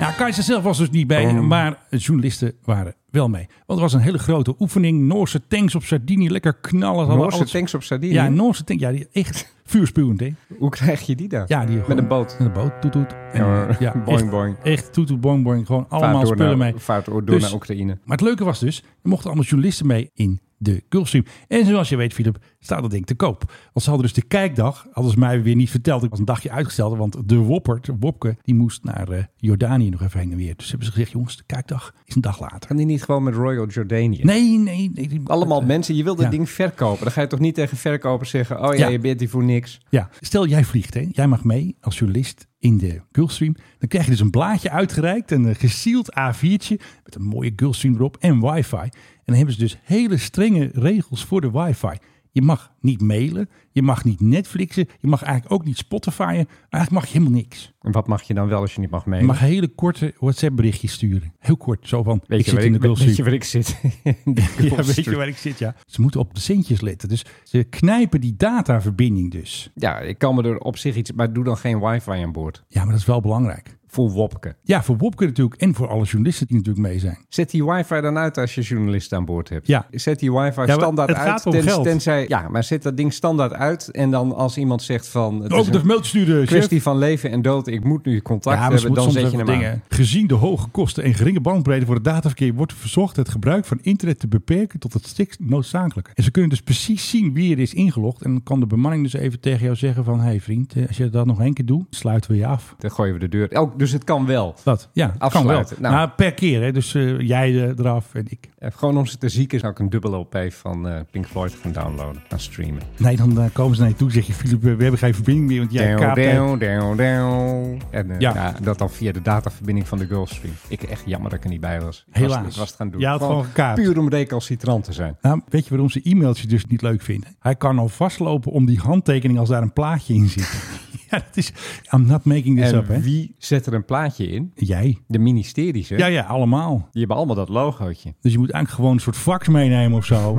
Ja, Kaiser zelf was dus niet bij, maar journalisten waren wel mee. Want het was een hele grote oefening. Noorse tanks op Sardinië, lekker knallen. Ze hadden
Noorse
alles-
tanks op Sardinië.
Ja, Noorse tanks. Ja, die echt vuurspuwend, hè?
Hoe krijg je die dan?
Ja, die
Met een boot.
Met een boot, toet toet. En,
Ja, *laughs*
eh,
boing,
echt,
boing.
Echt toet toet, boing boing. Gewoon allemaal
door
spullen
naar,
mee.
Vaart door
Dus-
naar Oekraïne.
Maar het leuke was dus, er mochten allemaal journalisten mee in de Gulfstream. En zoals je weet, Philip, staat dat ding te koop. Want ze hadden dus de kijkdag, hadden ze mij weer niet verteld. Ik was een dagje uitgesteld, want de Woppert, Wopke, die moest naar eh, Jordanië nog even heen en weer. Dus hebben ze gezegd, jongens, de kijkdag is een dag later.
Kan die niet gewoon met Royal Jordanië?
Nee, nee, nee. die-
Allemaal
eh,
mensen, je wil dat
ja.
ding verkopen. Dan ga je toch niet tegen verkopers zeggen: Oh ja,
Ja.
je bent hier voor niks.
Ja, stel jij vliegt, hè? jij mag mee als journalist in de Gulfstream. Dan krijg je dus een blaadje uitgereikt, een eh, gesield A4'tje met een mooie Gulfstream erop en wifi. En dan hebben ze dus hele strenge regels voor de wifi. Je mag niet mailen, je mag niet Netflixen, je mag eigenlijk ook niet Spotifyen. Eigenlijk mag je helemaal niks.
En wat mag je dan wel als je niet mag mee?
Je mag hele korte WhatsApp berichtjes sturen. Heel kort, zo van,
weet,
ik
je
zit
waar
in de
ik, weet- weet je
Gulfstream.
waar ik zit? *laughs* In
*laughs*
de
Ja,
Gulf
weet je
Stream.
waar ik zit, ja. Ze moeten op de centjes letten. Dus ze knijpen die dataverbinding dus.
ja, ik kan me er op zich iets, maar doe dan geen wifi aan boord.
Ja, maar dat is wel belangrijk.
Voor Wopke.
Ja, voor Wopke natuurlijk en voor alle journalisten die natuurlijk mee zijn.
Zet die wifi dan uit als je journalist aan boord hebt.
Ja.
Zet die wifi
maar
standaard
het
uit.
gaat om geld.
Tenzij, ja, maar zet dat ding standaard uit. En dan als iemand zegt van... Het is
Ook
een-
de mailtje sturen, chef.
kwestie van leven en dood. Ik moet nu contact
Ja, maar ze
hebben,
moeten
dan
soms
zet je
even
hem
dingen.
aan.
Gezien de hoge kosten en geringe bandbreedte voor het dataverkeer wordt verzocht het gebruik van internet te beperken tot het stikst noodzakelijke. En ze kunnen dus precies zien wie er is ingelogd. En dan kan de bemanning dus even tegen jou zeggen van, hé hey vriend, eh, als je dat nog één keer doet, sluiten we je af.
Dan gooien we de deur. Oh, dus het kan wel.
Dat, ja, dat kan wel.
Afsluiten.
Nou,
Nou.
per keer, hè. dus eh, jij eh, eraf en ik.
Eh, Gewoon om ze te zieken zou ik een dubbel LP van eh, Pink Floyd gaan downloaden. Gaan streamen.
Nee, dan eh, komen ze naar je toe en zeg je, Filip, eh, we hebben geen verbinding meer, want jij
Down,
kaapt. eh,
down, down, down. En eh,
Ja.
ja. dat dan via de dataverbinding van de Gulfstream. Ik echt jammer dat ik er niet bij was. Ik
Helaas.
Was, ik was het gaan doen.
Je had gewoon gekaapt.
Puur om recalcitrant te zijn.
Nou, weet je waarom ze e-mailtje dus niet leuk vinden? Hij kan al vastlopen om die handtekening als daar een plaatje in zit. *laughs* ja, dat is... I'm not making this
En
up, hè?
wie zet er een plaatje in?
Jij.
De ministeries, hè?
Ja, ja, allemaal.
Die hebben allemaal dat logootje.
Dus je moet eigenlijk gewoon een soort fax meenemen of zo.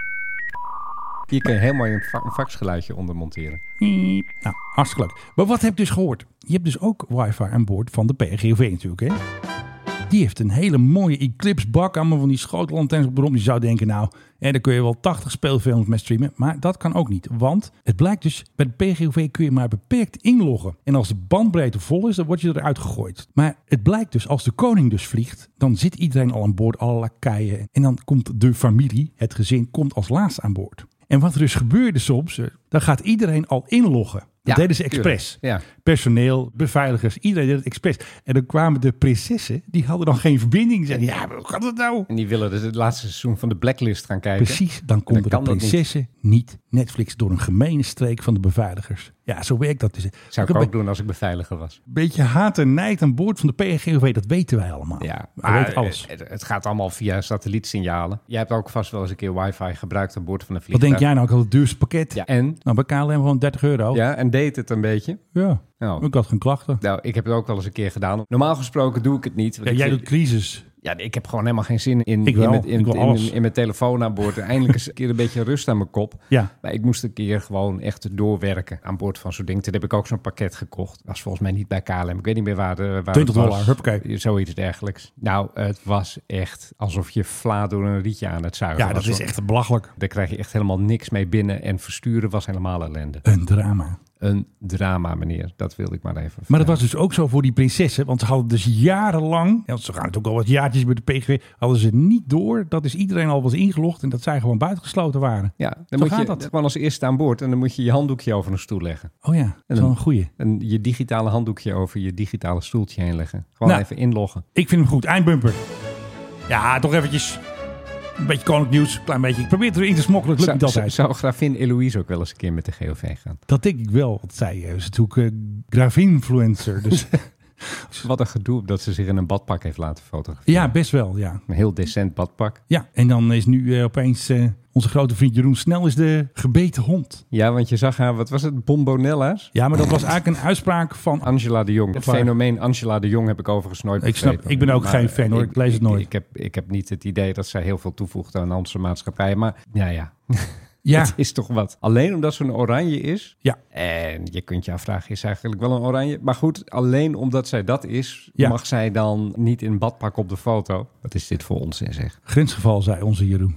Hier kun je helemaal een, fa- een faxgeluidje onder monteren.
Nou, hartstikke leuk. Maar wat heb ik dus gehoord? Je hebt dus ook wifi aan boord van de PRGOV natuurlijk, hè? Die heeft een hele mooie Eclipse-bak, allemaal van die schotelantennes op de romp. Je zou denken, nou, en daar kun je wel 80 speelfilms mee streamen. Maar dat kan ook niet, want het blijkt dus, bij de PGOV kun je maar beperkt inloggen. En als de bandbreedte vol is, dan word je eruit gegooid. Maar het blijkt dus, als de koning dus vliegt, dan zit iedereen al aan boord, alle lakaien. En dan komt de familie, het gezin, komt als laatst aan boord. En wat er dus gebeurde soms, eh, dan gaat iedereen al inloggen. Dat
Ja,
deden ze
tuurlijk.
expres
Ja.
personeel, beveiligers, iedereen deed het expres. En dan kwamen de prinsessen, die hadden dan geen verbinding. Die zeiden, ja, maar hoe kan dat nou?
En die willen dus het laatste seizoen van de Blacklist gaan kijken.
Precies, dan konden
kan
de
dat niet.
prinsessen niet. Netflix door een gemene streek van de beveiligers. Ja, zo werkt dat dus.
Zou ik
heb
ook
een
doen als ik beveiliger was.
be- beetje haat en nijd aan boord van de PRGOV, dat weten wij allemaal.
Ja, eh,
We weten alles.
Het, het gaat allemaal via satellietsignalen. Jij hebt ook vast wel eens een keer wifi gebruikt aan boord van een
Wat
vliegtuig.
denk jij Oh. nou, ik had het duurste pakket.
eh, Ja, en?
Nou, bij KLM gewoon 30 euro. Ja,
Ja, en deed het een beetje? Nou.
ik had geen klachten.
Nou, ik heb het ook wel eens een keer gedaan. Normaal gesproken doe ik het niet. want
Ja,
ik
jij
vind-
doet crisis.
ja, ik heb gewoon helemaal geen zin in,
Ik
in,
wel.
mijn- in,
Ik wil
in-
alles.
in- in mijn telefoon aan boord. En Eindelijk eens een keer een beetje rust aan mijn kop.
Ja.
Maar ik moest een keer gewoon echt doorwerken aan boord van zo'n ding. Toen heb ik ook zo'n pakket gekocht. Dat was volgens mij niet bij KLM. Ik weet niet meer waar, de, waar het
20 dollar,
was.
huppakee.
Zoiets dergelijks. Nou, het was echt alsof je vla door een rietje aan het zuigen
Ja, dat
was,
is
hoor.
echt belachelijk.
Daar krijg je echt helemaal niks mee binnen. En versturen was helemaal ellende.
Een drama.
een drama, meneer. Dat wilde ik maar even.
Maar dat was dus ook zo voor die prinsessen. Want ze hadden dus jarenlang, ja, ze gaan natuurlijk al wat jaartjes bij de PGW, hadden ze niet door. Dat is iedereen al was ingelogd en dat zij gewoon buitengesloten waren.
Ja,
Zo
dan moet
gaat
je
dat.
gewoon als eerste aan boord en dan moet je je handdoekje over een stoel leggen.
Oh ja, dat is wel een goeie.
En je digitale handdoekje over je digitale stoeltje heen leggen. Gewoon
Nou.
even inloggen.
Ik vind hem goed. Eindbumper. Ja, toch eventjes een beetje koninklijk nieuws. Klein beetje. Ik probeer het erin te smokkelen. Het lukt
Zou,
niet
zou,
altijd.
zou gravin Eloise ook wel eens een keer met de GOV gaan?
Dat denk ik wel. Want zij eh, is natuurlijk eh, gravinfluencer. Dus
Wat een gedoe dat ze zich in een badpak heeft laten fotograferen.
*laughs* ja, best wel. Ja.
Een heel decent badpak.
ja. En dan is nu eh, opeens eh, onze grote vriend Jeroen Snel is de gebeten hond.
Ja, want je zag haar, wat was het, Bombonella's?
Ja, maar dat was eigenlijk een uitspraak van
Angela de Jong.
Dat
Het
waar.
fenomeen Angela de Jong heb ik overigens nooit
Ik snap-
begrepen.
ik ben ook
Maar
geen fan, hoor. Ik lees het nooit.
Ik, heb, ik heb niet het idee dat zij heel veel toevoegt aan onze maatschappij. Maar ja, ja.
Ja,
Het is toch wat. Alleen omdat ze een oranje is.
Ja.
En je kunt je afvragen, is ze eigenlijk wel een oranje? Maar goed, alleen omdat zij dat is,
Ja.
mag zij dan niet in badpak op de foto. Wat is dit voor onzin zeg.
grensgeval, zei onze Jeroen.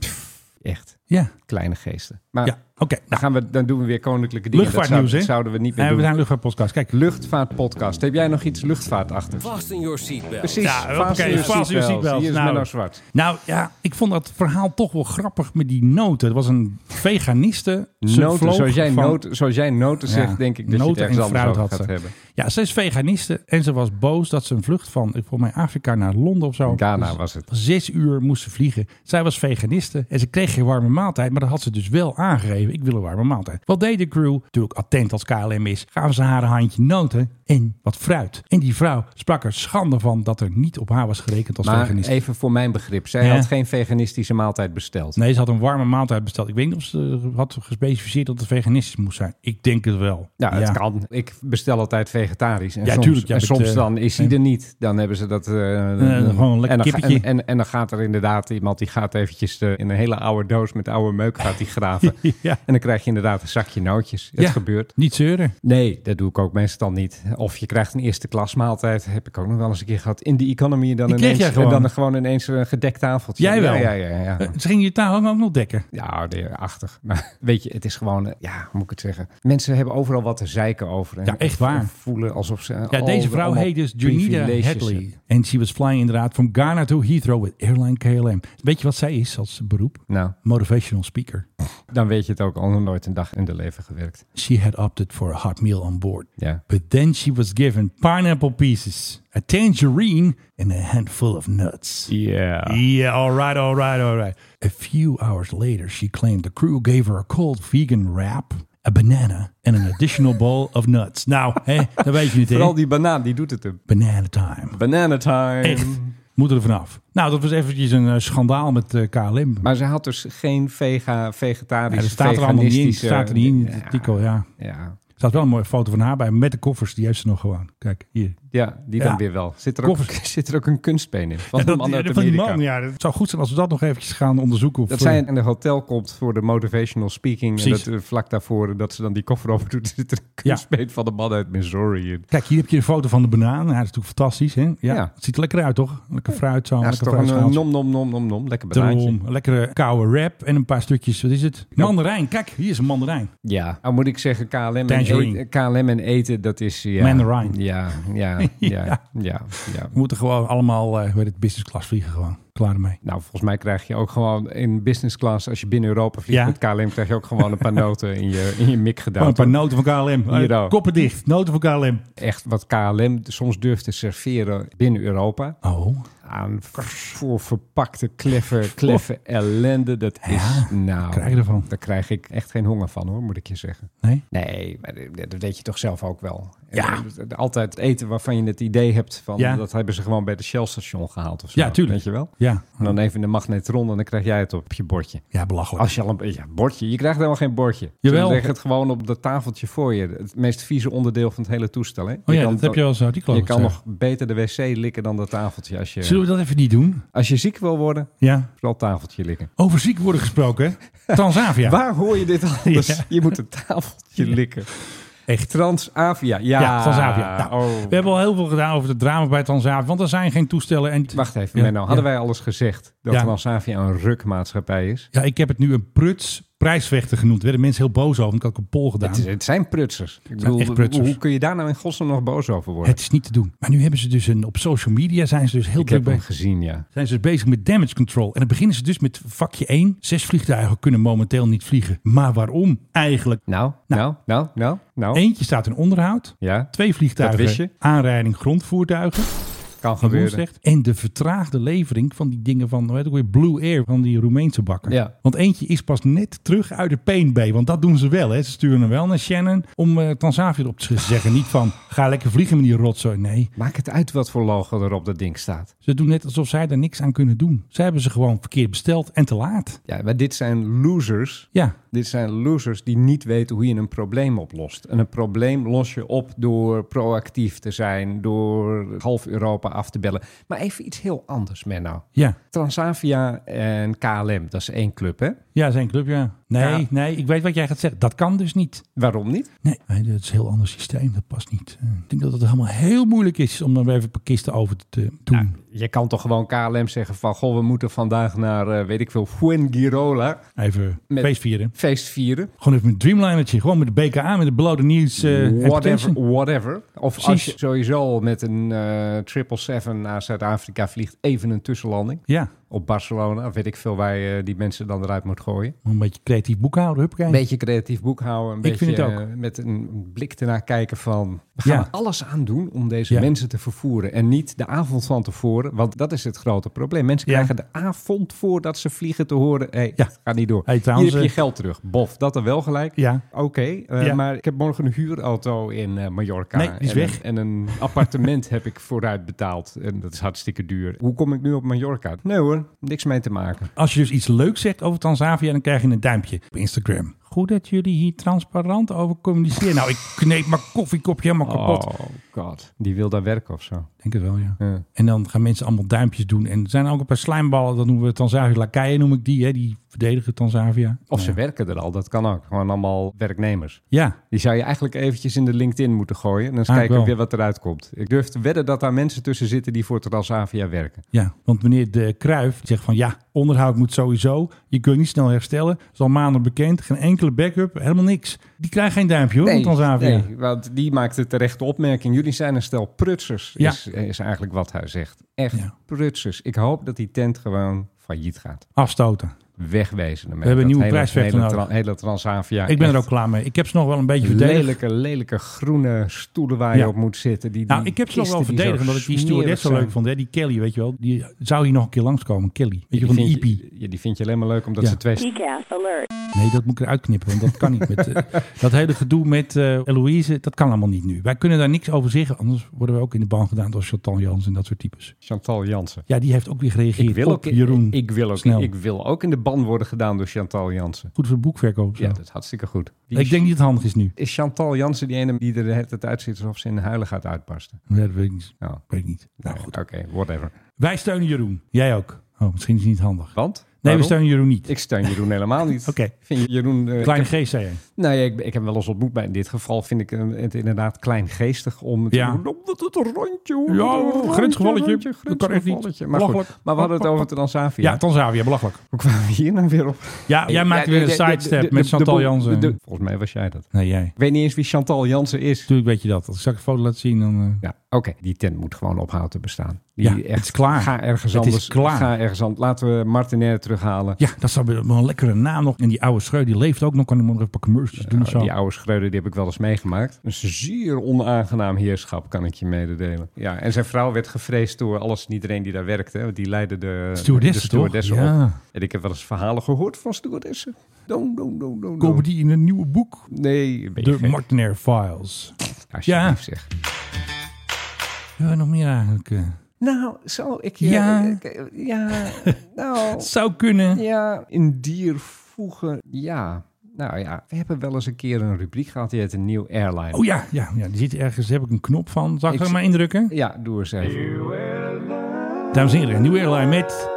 Echt,
Ja,
kleine geesten. Maar
ja. oké.
dan,
Nou,
gaan we, dan doen we weer koninklijke dingen.
Luchtvaartnieuws,
dat,
hè?
zou- dat zouden we niet meer
en we
doen.
zijn luchtvaartpodcast. Kijk,
Luchtvaartpodcast. Heb jij nog iets luchtvaartachtigs?
Vast in your seatbelt.
Precies.
Ja,
Fasten
hoppakee,
your
fasten your
seatbelts.
seatbelts.
Hier is
Nou.
Menno Zwart.
Nou ja, ik vond dat verhaal toch wel grappig met die noten. Er was een veganiste. Ze
Noten,
vloog
zoals, jij
van-
noten, zoals jij noten
Ja,
zegt, denk ik dat
noten
je het
en
ergens anders
fruit
over
had
gaat
ze.
hebben.
Ja, ze is veganiste en ze was boos dat ze een vlucht van, ik volgens mij Afrika naar Londen of zo. Dus
Ghana was het.
Zes uur moest ze vliegen. Zij was veganiste en ze kreeg geen warme maaltijd. Maar dat had ze dus wel aangegeven. Ik wil een warme maaltijd. Wat deed de crew? Natuurlijk attent als KLM is. Gaven ze haar een handje noten en wat fruit. En die vrouw sprak er schande van dat er niet op haar was gerekend als
Maar
veganiste.
even voor mijn begrip. Zij
Ja.
had geen veganistische maaltijd besteld.
Nee, ze had een warme maaltijd besteld. Ik weet niet of ze had gespecificeerd dat het veganistisch moest zijn. Ik denk het wel.
Ja, het kan. Ik bestel altijd vegetarisch. En
Ja,
soms,
tuurlijk. Ja,
en
met,
soms
eh,
dan is hij
ja.
er niet. Dan hebben ze dat... eh,
gewoon een lekker
en dan ga-
kippetje.
en, en, en dan gaat er inderdaad iemand, die gaat eventjes eh, in een hele oude doos met oude meuk gaat die graven.
*laughs* *laughs* Ja.
En dan krijg je inderdaad een zakje nootjes. Het
Ja.
gebeurt.
Niet zeuren.
Nee, dat doe ik ook meestal niet. Of je krijgt een eerste klas maaltijd. Heb ik ook nog wel eens een keer gehad. In de economy dan
Die kreeg
ineens,
jij gewoon.
En dan gewoon ineens een gedekt tafeltje.
Jij wel?
Ja, ja, ja. ja.
Eh, Ze gingen je taal ook nog dekken.
Ja, de- achtig. *laughs* Maar weet je, het is gewoon, eh, ja, hoe moet ik het zeggen? Mensen hebben overal wat te zeiken over. En
Ja, echt waar.
Voelen alsof ze.
Ja, deze vrouw heet dus Junida Hadley. En she was flying inderdaad from Ghana to Heathrow with airline KLM. Weet je wat zij is als beroep?
Nou,
Motivational speaker.
dan weet je het ook al nog nooit een dag in de leven gewerkt.
She had opted for a hot meal on board.
Ja.
But then she was given pineapple pieces, a tangerine and a handful of nuts.
Ja.
Yeah, all right, all right, all right. A few hours later, she claimed the crew gave her a cold vegan wrap, a banana and an additional *laughs* bowl of nuts. Nou, hè, dan weet je het, hè?
Vooral die banaan, die doet het hem.
Banana time.
Banana time.
Echt. Moeten er vanaf. Nou, dat was eventjes een eh, schandaal met eh, KLM.
Maar ze had dus geen vega,
Ja, dat
vegetarische,
staat er allemaal niet in.
veganistische-
Staat er niet in, het artikel, ja.
Ja.
Er staat wel een mooie foto van haar bij met de koffers. Die heeft ze nog gewoon. Kijk, hier.
Ja, die
Ja.
dan weer wel. Zit er, ook, *laughs*
Koffers.
zit er ook een kunstbeen in?
Ja,
Van een
dat,
man uit
van die
Amerika.
man, ja. Het zou goed zijn als we dat nog eventjes gaan onderzoeken. Of, eh,
Dat zij in een hotel komt voor de motivational speaking.
Precies.
En dat eh, vlak daarvoor, dat ze dan die koffer *laughs* over doet, zit er een
Ja.
kunstbeet van de man uit Missouri in.
Kijk, hier heb je een foto van de banaan. Ja, dat is natuurlijk fantastisch, hè? Ja.
Ja.
Het ziet er lekker uit, toch? Lekker fruit zo.
Ja, dat is
lekker
toch een eh,
fruitschaaltje.
nom, nom, nom, nom, nom. Lekker banaantje.
Daarom. Een lekkere koude wrap en een paar stukjes. Wat is het? Mandarijn. Kijk, hier is een mandarijn.
Ja. Nou moet ik zeggen, KLM en,
Tangerine.
eten, KLM en eten, dat is... Ja,
Mandarin. *laughs*
Ja, ja, ja, ja, ja,
We moeten gewoon allemaal, eh hoe heet het, business class vliegen gewoon. Klaar ermee.
Nou, volgens mij krijg je ook gewoon in business class, als je binnen Europa vliegt
Ja.
met KLM, krijg je ook gewoon een
*laughs*
paar noten in je, in je mik gedaan.
Oh, een paar
toch?
noten van KLM.
Hier
Eh,
ook.
Koppen dicht. Noten van KLM.
Echt wat KLM soms durft te serveren binnen Europa.
Oh.
aan voor verpakte *laughs* kleffe, kleffe ellende. Dat is nou,
krijg je ervan?
daar krijg ik echt geen honger van hoor, moet ik je zeggen.
Nee?
Nee, maar dat dat weet je toch zelf ook wel.
Ja.
En Altijd eten waarvan je het idee hebt van
Ja.
dat hebben ze gewoon bij de Shell station gehaald of zo.
Ja, tuurlijk.
Weet je wel?
Ja.
En dan even in de magnetron en dan krijg jij het op je bordje.
Ja, belachelijk.
Als je al een ja, bordje, je krijgt helemaal geen bordje.
Jawel.
Ze leggen het gewoon op dat tafeltje voor je. Het meest vieze onderdeel van het hele toestel. Hè?
Oh ja, dat heb je wel eens uit die
Je
kloot
kan nog
gezegd.
beter de wc likken dan dat tafeltje als je.
Zullen we dat even niet doen?
Als je ziek wil worden,
Ja.
vooral tafeltje likken.
Over ziek worden gesproken.
*laughs*
Transavia.
Waar hoor je dit
*laughs*
anders?
Ja.
Je moet een tafeltje likken.
Echt.
Transavia. Ja,
Ja, Transavia. Nou,
oh.
We hebben al heel veel gedaan over het drama bij Transavia. Want er zijn geen toestellen. En...
Wacht even,
Ja,
Menno. Hadden
ja.
wij alles gezegd dat
Ja.
Transavia een rukmaatschappij is?
Ja, ik heb het nu een pruts prijsvechter genoemd. Werden mensen heel boos over. want Ik had ook een poll gedaan.
Het, is- het zijn prutsers. Ik bedoel,
echt prutsers.
Hoe kun je daar nou in godsnaam nog boos over worden?
Het is niet te doen. Maar nu hebben ze dus een, op social media zijn ze dus heel
ik
druk
heb hem
bezig.
gezien, ja.
Zijn ze dus bezig met damage control. En dan beginnen ze dus met vakje 1. Zes vliegtuigen kunnen momenteel niet vliegen. Maar waarom eigenlijk?
Nou, nou, nou, nou, nou.
Eentje staat in onderhoud.
Ja,
Twee vliegtuigen.
Dat wist je.
Aanrijding grondvoertuigen.
kan
Van
gebeuren.
Woensdag. En de vertraagde levering van die dingen van, hoe heet het ook weer, Blue Air, van die Roemeense bakker.
Ja.
Want eentje is pas net terug uit de Pain Bay, want dat doen ze wel. Hè. Ze sturen hem wel naar Shannon om eh Tanzania op te zeggen. Niet van, ga lekker vliegen met die rotzooi. Nee,
Maakt het uit wat voor logo er op dat ding staat.
ze doen net alsof zij daar niks aan kunnen doen. Ze hebben ze gewoon verkeerd besteld en te laat.
Ja, maar dit zijn losers.
Ja,
Dit zijn losers die niet weten hoe je een probleem oplost. En een probleem los je op door proactief te zijn, door half Europa af te bellen. Maar even iets heel anders, Menno.
ja.
Transavia en KLM, dat is één club, hè?
Ja, zijn club, ja. Nee,
Ja.
nee, ik weet wat jij gaat zeggen. Dat kan dus niet.
Waarom niet?
Nee, nee, dat is een heel ander systeem. Dat past niet. Eh, Ik denk dat het helemaal heel moeilijk is om dan weer even kisten over te eh, doen.
Je kan toch gewoon KLM zeggen van... goh, we moeten vandaag naar, eh, weet ik veel, Fuengirola
Even
Met-
feest vieren.
feest vieren.
Gewoon even met Dreamlinertje. Gewoon met de BKA, met de Below the News. eh, advertentie.
whatever, whatever. Of als
Precies.
je sowieso al met een eh 777 naar Zuid-Afrika vliegt... even een tussenlanding
Ja,
op Barcelona. Of weet ik veel waar je die mensen dan eruit moet gooien.
een beetje creatief boekhouden. Huppakee.
Een beetje creatief boekhouden. Een
Ik
beetje
vind het ook.
eh, met een blik ernaar kijken van... we gaan
Ja.
er alles aan doen om deze
Ja.
mensen te vervoeren. En niet de avond van tevoren, want dat is het grote probleem. Mensen
Ja.
krijgen de avond voordat ze vliegen te horen... hey,
Ja.
het gaat niet door.
Hey,
Hier
trouwens,
heb je
eh,
geld terug. Bof, dat dan wel gelijk.
Ja.
Oké, eh,
Ja.
maar ik heb morgen een huurauto in eh, Mallorca.
Nee, die is
en,
weg.
Een, en een appartement heb ik vooruit betaald. En dat is hartstikke duur. Hoe kom ik nu op Mallorca? Nee hoor, niks mee te maken.
Als je dus iets leuks zegt over Tanzania, dan krijg je een duimpje op Instagram. Goed dat jullie hier transparant over communiceren. Nou, ik kneep mijn koffiekopje helemaal kapot.
Oh god, die wil daar werken of zo.
Ik denk het wel, ja.
Ja.
En dan gaan mensen allemaal duimpjes doen. En er zijn ook een paar slijmballen, dat noemen we Tanzavia lakeien, noem ik die. Hè? Die verdedigen Tanzavia.
Of ze werken er al, dat kan ook. Gewoon allemaal werknemers.
Ja,
Die zou je eigenlijk eventjes in de LinkedIn moeten gooien. En dan eens
Ah, ik
kijken
wel.
weer wat eruit komt. Ik durf te wedden dat daar mensen tussen zitten die voor Transavia werken.
ja. Want meneer De Kruif zegt van ja, onderhoud moet sowieso. Je kunt niet snel herstellen. Is al maanden bekend. Geen enkele backup, helemaal niks. Die krijgt geen duimpje hoor, van Tanzavia.
nee, want die maakte terecht de opmerking. Jullie zijn een stel prutsers,
Ja.
is, is eigenlijk wat hij zegt. Echt
Ja.
prutsers. Ik hoop dat die tent gewoon failliet gaat.
Afstoten.
Wegwezen ermee.
We hebben een
Dat
nieuwe
hele-
prijsvechter
hele,
nodig.
tra- hele Transavia.
ik ben er
echt
ook klaar mee. Ik heb ze nog wel een beetje verdedigd.
Lelijke, lelijke groene stoelen waar je
Ja.
op moet zitten. Die,
Nou,
die
ik heb ze nog wel
kisten die zo
verdedigd, omdat ik die stewardess zo
smerig
leuk
zijn.
vond. Hè? Die Kelly, weet je wel. Die zou hier nog een keer langskomen, Kelly. Weet je, van die IP.
vind je- ja, die vind je alleen maar leuk omdat
Ja.
ze twee
Nee, dat moet ik eruit knippen, want dat kan niet. Met, eh, dat hele gedoe met eh Eloïse, dat kan allemaal niet nu. Wij kunnen daar niks over zeggen, anders worden we ook in de ban gedaan door Chantal Jans en dat soort types.
Chantal Jansen.
Ja, die heeft ook weer gereageerd
Ik wil,
op
ook,
Jeroen.
ik, wil ook,
Snel.
ik wil ook in de ban worden gedaan door Chantal Jansen.
Goed voor boekverkoop. of zo.
Ja, dat is hartstikke goed. Die
ik denk niet dat het handig is nu.
Is Chantal Jansen die ene die er het uitziet alsof ze in huilen gaat uitbarsten?
Ja, dat weet ik niet.
Nou,
Ik weet het niet. Nou
nee,
goed.
Oké, whatever.
Wij steunen Jeroen. Jij ook. Oh, misschien is het niet handig. Nee,
Want?
we
Waarom?
steunen Jeroen niet.
Ik steun Jeroen helemaal niet.
*laughs* Oké.
Vind je Jeroen... eh,
Kleine
ik heb-
G, zei jij.
nou ja, ik, ik heb hem wel eens ontmoet, maar in dit geval vind ik eh, het inderdaad kleingeestig om het
Ja.
te doen. Omdat het een rondje... hoe-
Ja,
een rondje,
grensgevalletje.
rondje,
Dat kan echt niet.
grensgevalletje. Maar, goed,
Belachelijk.
maar we hadden het
Pak,
over
pak,
Transavia.
Ja, Tanzavia, belachelijk.
Hoe kwamen we hier nou weer op?
Ja, jij maakt
Ja,
weer een
de- de-
sidestep
de- de-
met
de-
Chantal
de-
Jansen.
de- Volgens mij was jij dat.
Nee, jij.
Ik weet niet eens wie Chantal Jansen is.
Natuurlijk weet je dat. Als ik straks een foto laat zien, dan... eh,
Ja, oké. Die tent moet gewoon ophouden te bestaan. Die
Ja, het is klaar.
Ga ergens
Het is
anders.
klaar.
Ga ergens anders. Laten we Martinair terughalen.
Ja, dat zou wel een lekkere naam nog. En die oude Schreu, die leeft ook nog. Kan iemand nog even een paar commercials doen of zo.
Die oude Schreuder, die heb ik wel eens meegemaakt. Een zeer onaangenaam heerschap, kan ik je mededelen. Ja, en zijn vrouw werd gevreesd door alles en iedereen die daar werkte. hè, want Die leidde de
Stewardessen,
eh, de stewardessen
toch?
op.
Ja.
En ik heb wel eens verhalen gehoord van stewardessen. Don, don, don, don, don.
Komen die in een nieuwe boek?
Nee, ben je
De
gek?
Martinair Files. Ja.
Alsjeblieft zeg.
Ja, nog meer eigenlijk. eh.
Nou, zo, ik...
Ja.
Ja, ik-
*laughs*
ja nou...
Zou kunnen.
Ja, in dier voegen. Ja. Nou ja, we hebben wel eens een keer een rubriek gehad die heet een nieuw airline.
Oh ja, ja, ja, die zit ergens. Daar heb ik een knop van. Zal ik,
Ik
hem
zie-
maar indrukken?
Ja, doe eens even.
Dames en heren, een nieuwe airline met...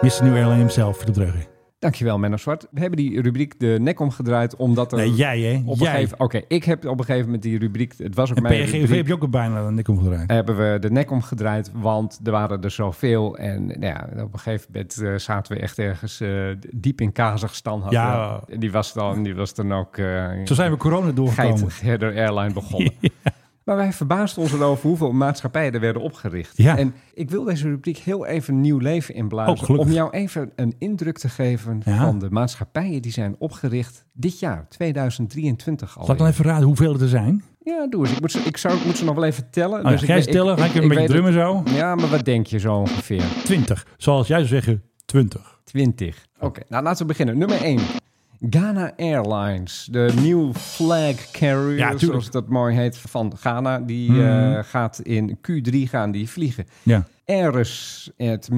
Mr. New Airline himself, de dreugen.
Dankjewel, Menno Zwart. We hebben die rubriek de nek omgedraaid, omdat er...
Nee, jij hè?
Eh, Op een
jij.
gegeven, Oké, ik heb op een gegeven moment die rubriek... Het was ook
en
mijn
PRGV
rubriek.
heb je ook al bijna aan de nek omgedraaid.
hebben we de nek omgedraaid, want er waren er zoveel. En nou ja, op een gegeven moment eh, zaten we echt ergens eh, diep in Kazachstan. hadden
Ja.
we- en die was dan, die was dan ook eh
Zo zijn we corona doorgekomen.
Geitherder Airline
*laughs*
begonnen. Maar wij verbaasden ons erover hoeveel maatschappijen er werden opgericht.
Ja.
En ik wil deze rubriek heel even nieuw leven
Oh,
inblazen.
gelukkig.
om jou even een indruk te geven
Ja.
van de maatschappijen die zijn opgericht dit jaar, 2023 al.
Zal ik dan even raden hoeveel er zijn?
Ja, doe eens. Ik, moet ze, ik, zou, ik moet ze nog wel even tellen. dus
Oh, ja,
ik
jij
weet-
stellen, ga ik even een beetje
weet
drummen zo.
het- Ja, maar wat denk je zo ongeveer?
20. Zoals jij zou zeggen, 20.
20. Oké, nou laten we beginnen. Nummer 1. Ghana Airlines, de new flag carrier,
Ja, tuurlijk. Mhm.
zoals dat mooi heet, van Ghana. Die eh, gaat in Q3 gaan die vliegen.
Ja.
Ares uit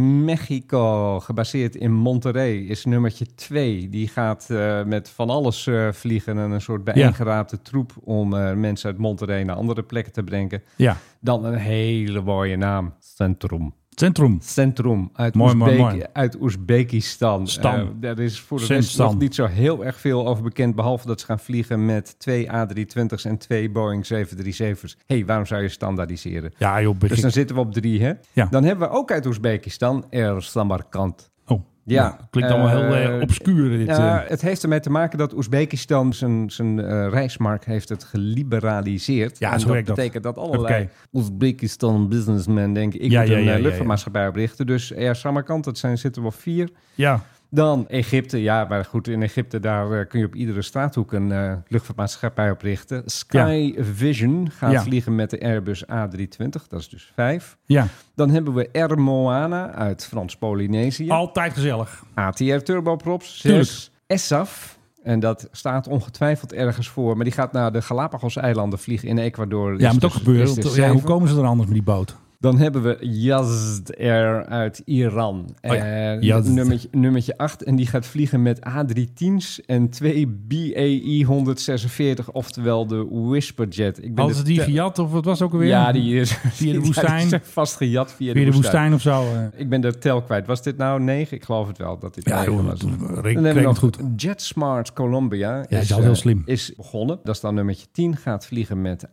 Mexico, gebaseerd in Monterrey, is nummertje 2. Die gaat eh, met van alles eh, vliegen en een soort bijeengeraapte troep om eh, mensen uit Monterrey naar andere plekken te brengen.
Ja.
Dan een hele mooie naam. Centrum.
Centrum.
Centrum uit,
Mooi,
Oezbek-
mooi, mooi.
uit Oezbekistan.
Stam.
Eh, daar is voor de
Sint
rest
Stam.
nog niet zo heel erg veel over bekend. Behalve dat ze gaan vliegen met twee A320's en twee Boeing 737's. Hé, hey, waarom zou je standaardiseren?
Ja, joh.
Dus
begin-
dan zitten we op drie, hè?
Ja.
Dan hebben we ook uit Oezbekistan Air Samarkand.
Oh,
Ja.
ja. Klinkt allemaal heel
Eh,
eh, obscuur. Dit,
Ja,
eh.
het heeft ermee te maken dat Oezbekistan zijn, zijn eh, reismarkt heeft het geliberaliseerd.
Ja,
en
zo
dat
werkt dat.
betekent dat allerlei Oezbekistan businessmen denken, ik
Ja,
moet
ja,
een
ja,
eh,
ja,
luchtvaartmaatschappij oprichten. Dus Air Samarkand, dat zijn, zitten wel vier.
ja.
Dan Egypte, ja, maar goed, in Egypte daar eh, kun je op iedere straathoek een eh luchtvaartmaatschappij oprichten. Sky Vision gaat
Ja.
vliegen met de Airbus A320, dat is dus vijf.
Ja.
Dan hebben we Air Moana uit Frans-Polynesië.
Altijd gezellig.
ATF turboprops.
Tuurlijk.
zes. ESAF. En dat staat ongetwijfeld ergens voor. Maar die gaat naar de Galapagos-eilanden vliegen in Ecuador. Is
Ja, moet
dus-
ook gebeuren.
is
want,
dus
ja, hoe
zeven.
komen ze er anders met die boot?
Dan hebben we Yazd Air uit Iran.
Oh ja,
Eh,
Yazd.
nummertje, nummertje 8. En die gaat vliegen met A310's en twee BAE 146. Oftewel de Whisperjet. Ik
Hadden ze
de
die
te-
gejat of wat was ook alweer?
Ja, die is
de
*laughs* ja, die
woestijn.
zijn vastgejat via,
Weer de eh, woestijn of zo. eh.
Ik ben de tel kwijt. Was dit nou 9? Ik geloof het wel dat dit
Ja,
9
joh,
was.
dat- dat-
Dan
reken-
hebben we
reken
nog
het goed.
JetSmart Columbia.
is al heel
eh,
slim.
Is begonnen. Dat is dan nummertje 10. Gaat vliegen met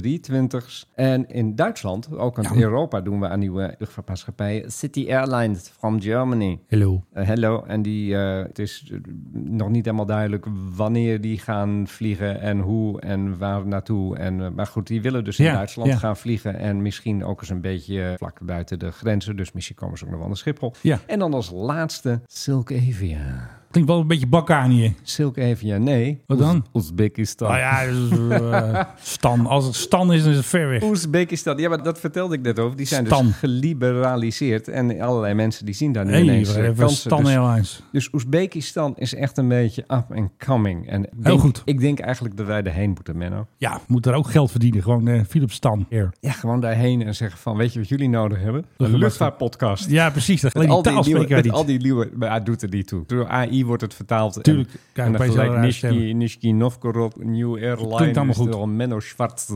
A320's. En in Duitsland, ook in Europa, doen we aan nieuwe luchtvaartmaatschappijen. City Airlines from Germany.
Hello.
Eh, Hello. En die, eh, het is eh, nog niet helemaal duidelijk wanneer die gaan vliegen en hoe en waar naartoe. En, eh, maar goed, die willen dus in
Ja,
Duitsland
ja.
gaan vliegen. En misschien ook eens een beetje eh, vlak buiten de grenzen. Dus misschien komen ze ook nog wel naar Schiphol.
Ja.
En dan als laatste Silkevia.
Klinkt wel een beetje Balkanië.
Silkevia, nee.
Wat dan?
Oez- Oezbekistan.
Nou ja, dus, eh, Stan. Als het Stan is, dan is het ver weg.
Oezbekistan, ja, maar dat vertelde ik net over. Die zijn
Stan.
dus geliberaliseerd. En allerlei mensen die zien daar nu
Hey,
ineens eh,
even
kansen.
Stan nou?
Dus-
Airlines.
Dus Oezbekistan is echt een beetje up and coming. En ik
Heel
denk-
goed.
Ik denk eigenlijk dat wij daarheen moeten, Menno.
Ja, moet daar ook geld verdienen. Gewoon eh Philips Stan Air.
Ja, gewoon daarheen en zeggen van, weet je wat jullie nodig hebben? Een
Luchtvaart-
luchtvaartpodcast.
Ja, precies. Dat
Met
alleen
al,
die
die
taal
nieuwe,
spreken wij
met
niet.
al die nieuwe, maar hij doet er niet toe. Door AI wordt het vertaald. en-
Tuurlijk, krijg je
En, dan
opeens
gelijk
allerlei
Nishki,
stemmen.
Nishki Novgorod, New Airline.
Klinkt allemaal
is er
goed.
al Menno Schwarz.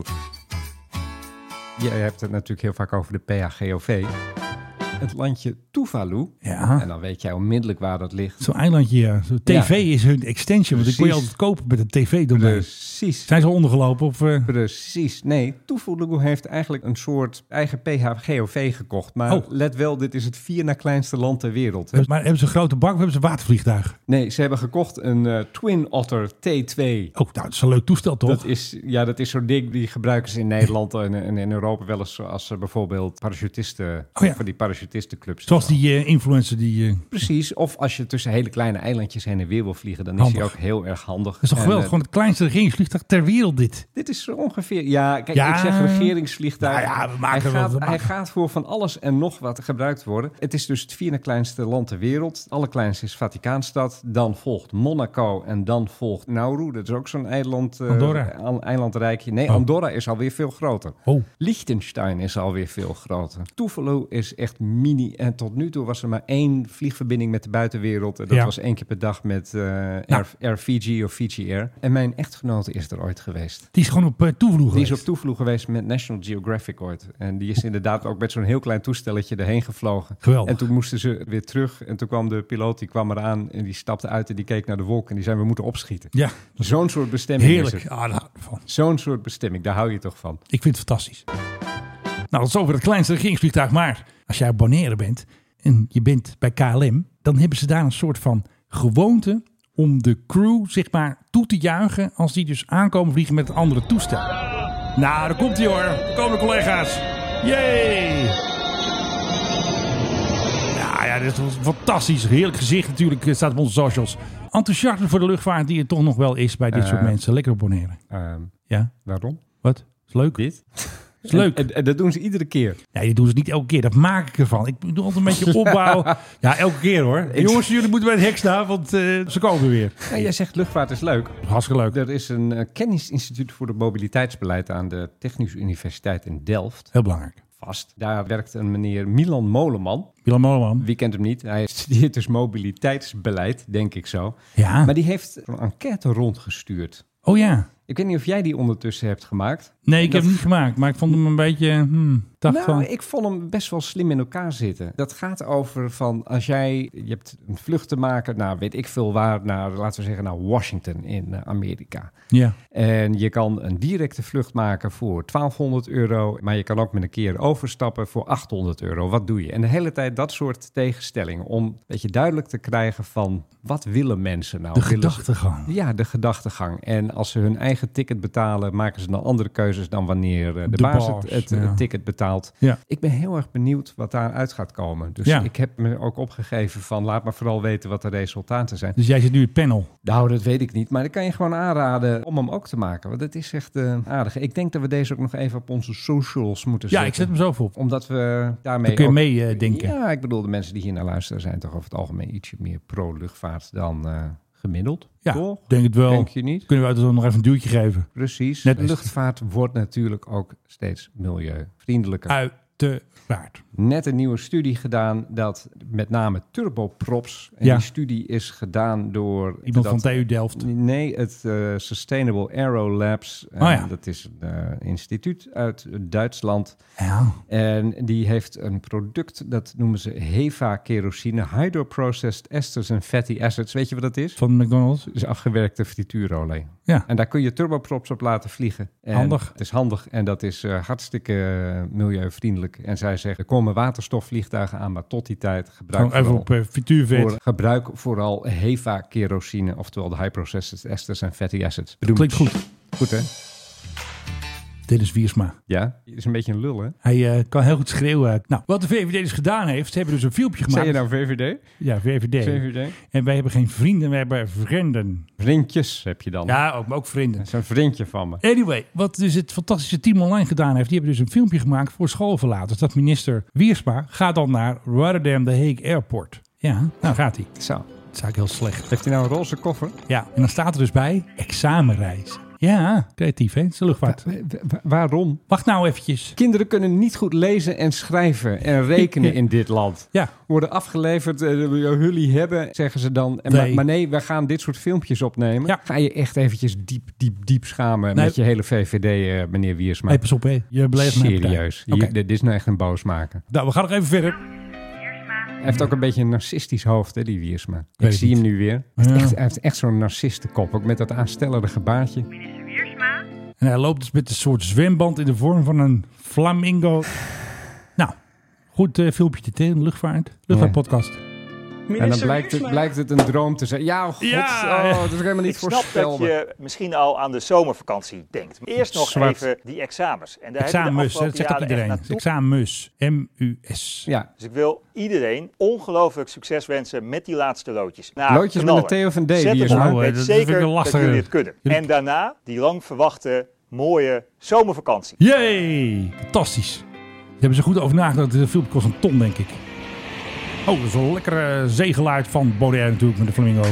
Jij hebt het natuurlijk heel vaak over de PHGOV. Het landje Tuvalu.
Ja.
En dan weet jij onmiddellijk waar dat ligt.
Zo'n eilandje, ja. Zo'n TV
Ja.
is hun extension. Want ik kon je
Precies.
altijd kopen met een TV. doen.
Precies.
Zijn ze ondergelopen? Of, eh,
Precies. Nee, Tuvalu heeft eigenlijk een soort eigen PHGOV gekocht. Maar
Oh.
let wel, dit is het vier na kleinste land ter wereld. hè.
maar hebben ze een grote bank of hebben ze een watervliegtuig?
Nee, ze hebben gekocht een eh, Twin Otter T2.
Oh, nou, dat is een leuk toestel, toch?
Dat is, ja, dat is zo'n ding die gebruiken ze in Nederland en, en in Europa wel eens als ze bijvoorbeeld parachutisten,
Oh ja.
van die parachutistenclubs.
Zoals die eh, influencer die... eh,
Precies, of als je tussen hele kleine eilandjes heen en weer wil vliegen, dan is
Handig.
die ook heel erg handig.
dat is toch
En,
geweldig?
eh,
Gewoon het kleinste regeringsvliegtuig ter wereld, dit.
Dit is ongeveer. Ja, kijk,
Ja.
ik zeg regeringsvliegtuig.
Nou ja, we maken
hij,
er wel
gaat,
wat van.
hij gaat voor van alles en nog wat gebruikt worden. Het is dus het vierde kleinste land ter wereld. Het allerkleinste is Vaticaanstad. Dan volgt Monaco. En dan volgt Nauru. Dat is ook zo'n eiland. eh,
Andorra.
een eilandrijkje. Nee,
Oh.
Andorra is alweer veel groter.
Oh.
Liechtenstein is alweer veel groter. Tuvalu is echt mini. En tot nu toe was er maar één vliegverbinding met de buitenwereld. En dat
Ja.
was één keer per dag met eh Air, Air Fiji of Fiji Air. En mijn echtgenote is er ooit geweest.
Die is gewoon op eh, toevloer
Die is op
geweest.
toevloeg geweest met National Geographic ooit. En die is inderdaad ook met zo'n heel klein toestelletje erheen gevlogen.
Geweldig.
En toen moesten ze weer terug. En toen kwam de piloot, die kwam eraan. En die stapte uit en die keek naar de wolk. En die zei, we moeten opschieten.
Ja,
Zo'n soort bestemming is
heerlijk.
het.
Ah, daar hou ik van.
Zo'n soort bestemming, daar hou je toch van.
Ik vind het fantastisch. Nou, dat is over het kleinste regeringsvliegtuig. Maar als jij op Bonaire bent en je bent bij KLM, dan hebben ze daar een soort van gewoonte om de crew zeg maar toe te juichen als die dus aankomen vliegen met een andere toestel. Nou, daar komt hij hoor. Daar komen de collega's. Yay! Ja, ja, dit is een fantastisch. Heerlijk gezicht natuurlijk. Het staat op onze socials. Enthousiasme voor de luchtvaart die het toch nog wel is bij dit soort mensen. Lekker op Bonaire.
Eh, Ehm,
Ja,
waarom?
wat? Is leuk.
*laughs* Dit?
Is leuk.
En, en dat doen ze iedere keer.
Nee, dat doen ze niet elke keer. Dat maak ik ervan. Ik doe altijd een beetje
*laughs*
opbouw. ja, elke keer hoor. Jongens, jullie moeten bij het hek staan, want eh, ze komen weer.
Ja, jij zegt luchtvaart is leuk.
Hartstikke leuk.
Er is een eh, kennisinstituut voor het mobiliteitsbeleid aan de Technische Universiteit in Delft.
Heel belangrijk.
Vast. Daar werkt een meneer Milan Moleman.
Willem Moleman.
Wie kent hem niet? Hij *laughs* studeert dus mobiliteitsbeleid, denk ik zo.
Ja.
Maar die heeft een enquête rondgestuurd.
Oh ja.
Ik weet niet of jij die ondertussen hebt gemaakt.
Nee, ik
Dat-
heb hem niet gemaakt, maar ik vond hem een beetje... hmm, ik dacht
nou,
van...
ik vond hem best wel slim in elkaar zitten. Dat gaat over van als jij, je hebt een vlucht te maken, nou weet ik veel waar, naar, laten we zeggen naar Washington in eh, Amerika.
Ja.
En je kan een directe vlucht maken voor 1200 euro, maar je kan ook met een keer overstappen voor 800 euro. Wat doe je? En de hele tijd dat soort tegenstellingen om een beetje duidelijk te krijgen van wat willen mensen nou?
De
Willen ze-
gedachtegang.
ja, de gedachtegang. En als ze hun eigen ticket betalen, maken ze dan andere keuzes dan wanneer eh, de,
De
baas
baas,
het, het,
ja.
het ticket betaalt.
Ja.
Ik ben heel erg benieuwd wat daaruit gaat komen. Dus
Ja.
ik heb me ook opgegeven van laat maar vooral weten wat de resultaten zijn.
Dus jij zit nu in het panel.
Nou, dat weet ik niet. Maar ik kan je gewoon aanraden om hem ook te maken. Want het is echt eh, aardig. Ik denk dat we deze ook nog even op onze socials moeten
Ja,
zetten.
ik zet hem zo even op.
Omdat we daarmee...
Dan kun je eh,
ook-
meedenken.
oh. Ja, ik bedoel, de mensen die hier naar luisteren zijn toch over het algemeen ietsje meer pro-luchtvaart dan eh, gemiddeld.
ja,
toch?
denk het wel.
Denk je niet?
Kunnen we uiteindelijk nog even een duwtje geven?
Precies.
Net als-
Luchtvaart wordt natuurlijk ook steeds milieuvriendelijker.
Uiteraard.
Net een nieuwe studie gedaan dat met name turboprops. En
Ja.
die studie is gedaan door
Iemand
dat-
van TU Delft.
Nee, het eh, Sustainable Aero Labs. En
Oh ja.
Dat is een eh, instituut uit Duitsland.
Ja.
En die heeft een product, dat noemen ze HEVA-kerosine. Hydroprocessed Esters and Fatty Acids. Weet je wat dat is?
Van McDonald's.
Dus afgewerkte frituurolie.
Ja.
En daar kun je turboprops op laten vliegen. En
Handig.
Het is handig en dat is eh, hartstikke eh, milieuvriendelijk. En zij zeggen, er komen waterstofvliegtuigen aan, maar tot die tijd gebruik
Gewoon even
vooral,
op eh, frituurvet.
voor, gebruik vooral HEVA-kerosine, oftewel de high processed esters en fatty acids.
Klinkt goed.
Goed, hè?
Dit is Wiersma.
Ja, is een beetje een lul, hè?
Hij eh, kan heel goed schreeuwen. Nou, wat de VVD dus gedaan heeft, ze hebben dus een filmpje gemaakt.
Zeg je nou VVD?
Ja, VVD.
VVD?
En wij hebben geen vrienden, wij hebben vrienden.
Vriendjes heb je dan.
Ja, ook, maar ook vrienden.
Dat is een vriendje van me.
Anyway, wat dus het fantastische team online gedaan heeft, die hebben dus een filmpje gemaakt voor schoolverlaters. Dat minister Wiersma gaat dan naar Rotterdam The Hague Airport. Ja, nou gaat hij.
Zo.
Dat is eigenlijk heel slecht.
Heeft hij nou een roze koffer?
Ja, en dan staat er dus bij examenreis. Ja, creatief hè, het is de luchtvaart.
waarom?
Wacht nou eventjes.
Kinderen kunnen niet goed lezen en schrijven en
*laughs*
rekenen in dit land.
Ja,
worden afgeleverd. eh, jullie hebben, zeggen ze dan. En maar,
Nee.
maar nee, we gaan dit soort filmpjes opnemen.
Ja.
Ga je echt eventjes diep, diep, diep schamen
Nee.
met je hele VVD, eh, meneer Wiersma.
hey, pas op hè. Je beleeft mijn partij.
Serieus.
Oké,
Hier- dit is nou echt een boos maken.
nou we gaan nog even verder.
Hij heeft ook een beetje een narcistisch hoofd, hè, die Wiersma.
weet
Ik zie
niet.
hem nu weer. Hij
Ja.
heeft echt- hij heeft echt zo'n narcistenkop. Ook met dat aanstellerige baardje.
En hij loopt dus met een soort zwemband in de vorm van een flamingo. Nou, goed eh, filmpje dit hè, in de luchtvaart. Luchtvaartpodcast.
En dan blijkt het, blijkt het een droom te zijn. Ja, oh god.
Ja.
oh, dat is helemaal niet
Ik snap dat
voorspelbaar.
je misschien al aan de zomervakantie denkt. Eerst nog
Zwart.
even die examens. En daar heb je
Examus,
de
hè, dat
afgelopen
zegt ook
jaren echt
iedereen.
naartoe.
Examus, M-U-S.
Ja,
Dus ik wil iedereen ongelooflijk succes wensen met die laatste loodjes. Nou,
Loodjes met
knallen.
een Theo van D.
Zet
die
het
is
Nou,
maar. Ik
eh,
weet
dat vind ik
zeker
een
dat
lastige.
jullie het kunnen.
Jullie-
En daarna die lang verwachte mooie zomervakantie.
Yay! Fantastisch. Daar hebben ze goed over nagedacht. De filmpje kost een ton, denk ik. Oh, dat is een lekkere zeegelaard van Baudet natuurlijk met de flamingo.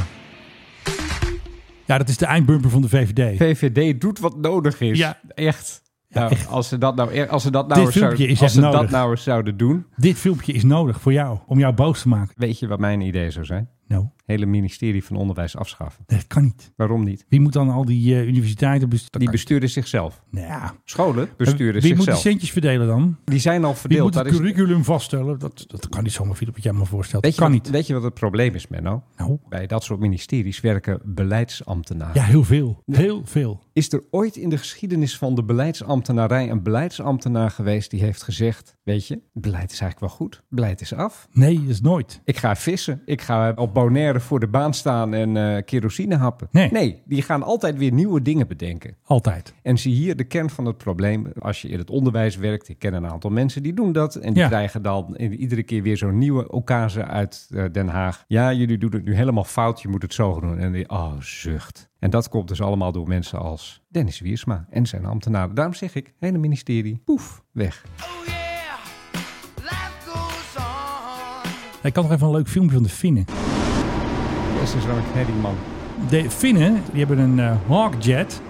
Ja, dat is de eindbumper van de VVD.
VVD doet wat nodig is.
Ja.
Echt. Nou, als ze dat nou, e- als ze dat nou,
Dit
eens zouden,
filmpje is
als
echt
ze dat
nodig.
nou eens zouden doen,
Dit filmpje is nodig voor jou, om jou boos te maken.
weet je wat mijn idee zou zijn?
Nou,
Hele ministerie van Onderwijs afschaffen.
dat kan niet.
Waarom niet?
Wie moet dan al die eh, universiteiten besturen?
Die besturen zichzelf.
Nou ja.
Scholen
Wie
besturen
moet die
zichzelf.
centjes verdelen dan?
Die zijn al
Wie
verdeeld.
moet het
Dat is-
curriculum vaststellen? Dat, dat kan niet zomaar, Filip, wat jij me voorstelt.
Weet
Dat
je,
kan
wat,
niet.
weet je wat het probleem is, Menno?
Nou,
Bij dat soort ministeries werken beleidsambtenaren.
ja, heel veel. Heel veel.
Is er ooit in de geschiedenis van de beleidsambtenarij een beleidsambtenaar geweest die heeft gezegd: Weet je, beleid is eigenlijk wel goed, beleid is af.
Nee, dat is nooit.
Ik ga vissen, ik ga op Bonaire voor de baan staan en eh, kerosine happen.
Nee.
die gaan altijd weer nieuwe dingen bedenken.
Altijd.
En zie hier de kern van het probleem. Als je in het onderwijs werkt, ik ken een aantal mensen die doen dat. En die
Ja.
krijgen dan i- iedere keer weer zo'n nieuwe occasie uit eh, Den Haag. Ja, jullie doen het nu helemaal fout, je moet het zo doen. En die, oh, zucht. En dat komt dus allemaal door mensen als Dennis Wiersma en zijn ambtenaren. Daarom zeg ik, hele ministerie, poef, weg.
Ik kan nog even een leuk filmpje van de Finnen.
Dat is dus wel een herrie, man.
De Finnen, die hebben een eh, Hawkjet.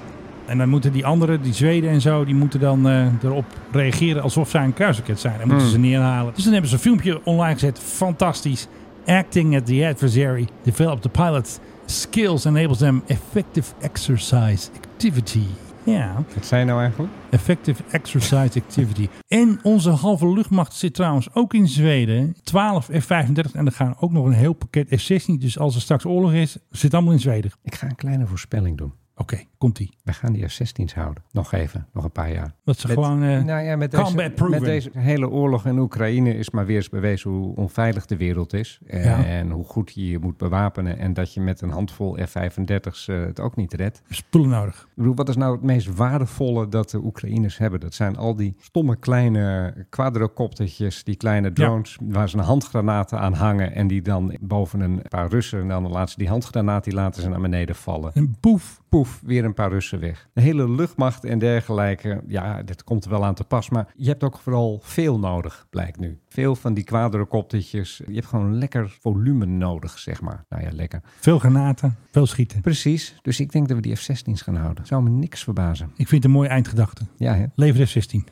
En dan moeten die anderen, die Zweden en zo, die moeten dan eh, erop reageren alsof zij een kruisraket zijn. En moeten ze neerhalen. Dus dan hebben ze een filmpje online gezet. Fantastisch. Acting at the adversary. Develop the pilot's skills enables them effective exercise activity. Ja.
Wat zijn nou eigenlijk?
Effective Exercise Activity. En onze halve luchtmacht zit trouwens ook in Zweden. 12 F-35 en er gaan ook nog een heel pakket F-16. Dus als er straks oorlog is, zit allemaal in Zweden.
Ik ga een kleine voorspelling doen.
Oké, komt-ie.
We gaan die F-16's houden. Nog even, nog een paar jaar.
Dat ze
Met-
gewoon... eh,
nou ja, met,
combat
deze,
proven.
met deze hele oorlog in Oekraïne is maar weer eens bewezen hoe onveilig de wereld is. En,
Ja.
hoe goed je je moet bewapenen. En dat je met een handvol F-35's eh, het ook niet redt.
Spullen nodig.
Ik bedoel, wat is nou het meest waardevolle dat de Oekraïners hebben? Dat zijn al die stomme kleine quadrocoptertjes, die kleine drones... waar ze een handgranaten aan hangen... en die dan boven een paar Russen... en dan laten ze die handgranaat die laten ze naar beneden vallen
En boef.
poef, weer een paar Russen weg. De hele luchtmacht en dergelijke, ja, dat komt er wel aan te pas. Maar je hebt ook vooral veel nodig, blijkt nu. Veel van die quadrocoptertjes. Je hebt gewoon lekker volume nodig, zeg maar. Nou ja, lekker.
Veel granaten. Veel schieten.
Precies, dus ik denk dat we die F-16's gaan houden. Zou me niks verbazen.
Ik vind het een mooie eindgedachte.
Ja, hè?
Lever F-16.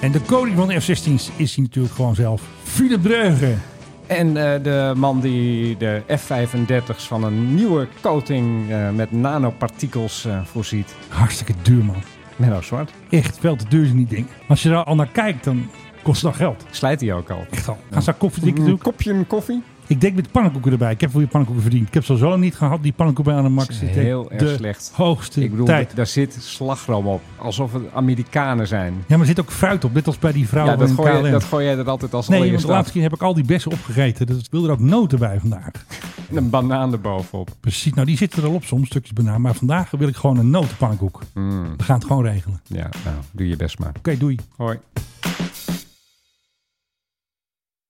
En de koning van de F-16's is hij natuurlijk gewoon zelf. Philip Dreugen.
En eh, de man die de F-35's van een nieuwe coating eh, met nanopartikels eh, voorziet.
Hartstikke duur, man.
Menno Zwart.
Echt veel te duur zijn die dingen. Als je daar al naar kijkt, dan kost het al geld.
Slijt hij ook al.
Echt al. Gaan ze daar koffie drinken
Een
doen?
kopje koffie.
Ik denk met pannenkoeken erbij. Ik heb voor je pannenkoeken verdiend. Ik heb ze zo lang niet gehad. Die pannenkoeken bij aan de max zitten.
Heel erg
de
slecht.
hoogste
Ik bedoel,
tijd.
d- daar zit slagroom op. Alsof het Amerikanen zijn.
Ja, maar er zit ook fruit op. Net als bij die vrouwen
Ja, dat
van
gooi,
KLM.
je, dat gooi jij er altijd
nee, want
als
de
allereerste
laatste
af.
keer heb ik al die bessen opgegeten. Dus ik wil er ook noten bij vandaag.
En een banaan erbovenop.
Precies. Nou, die zitten er al op soms, stukjes banaan. Maar vandaag wil ik gewoon een notenpannenkoek. We gaan het gewoon regelen. Oké,
Ja, nou, doe je best maar.
doei.
Hoi.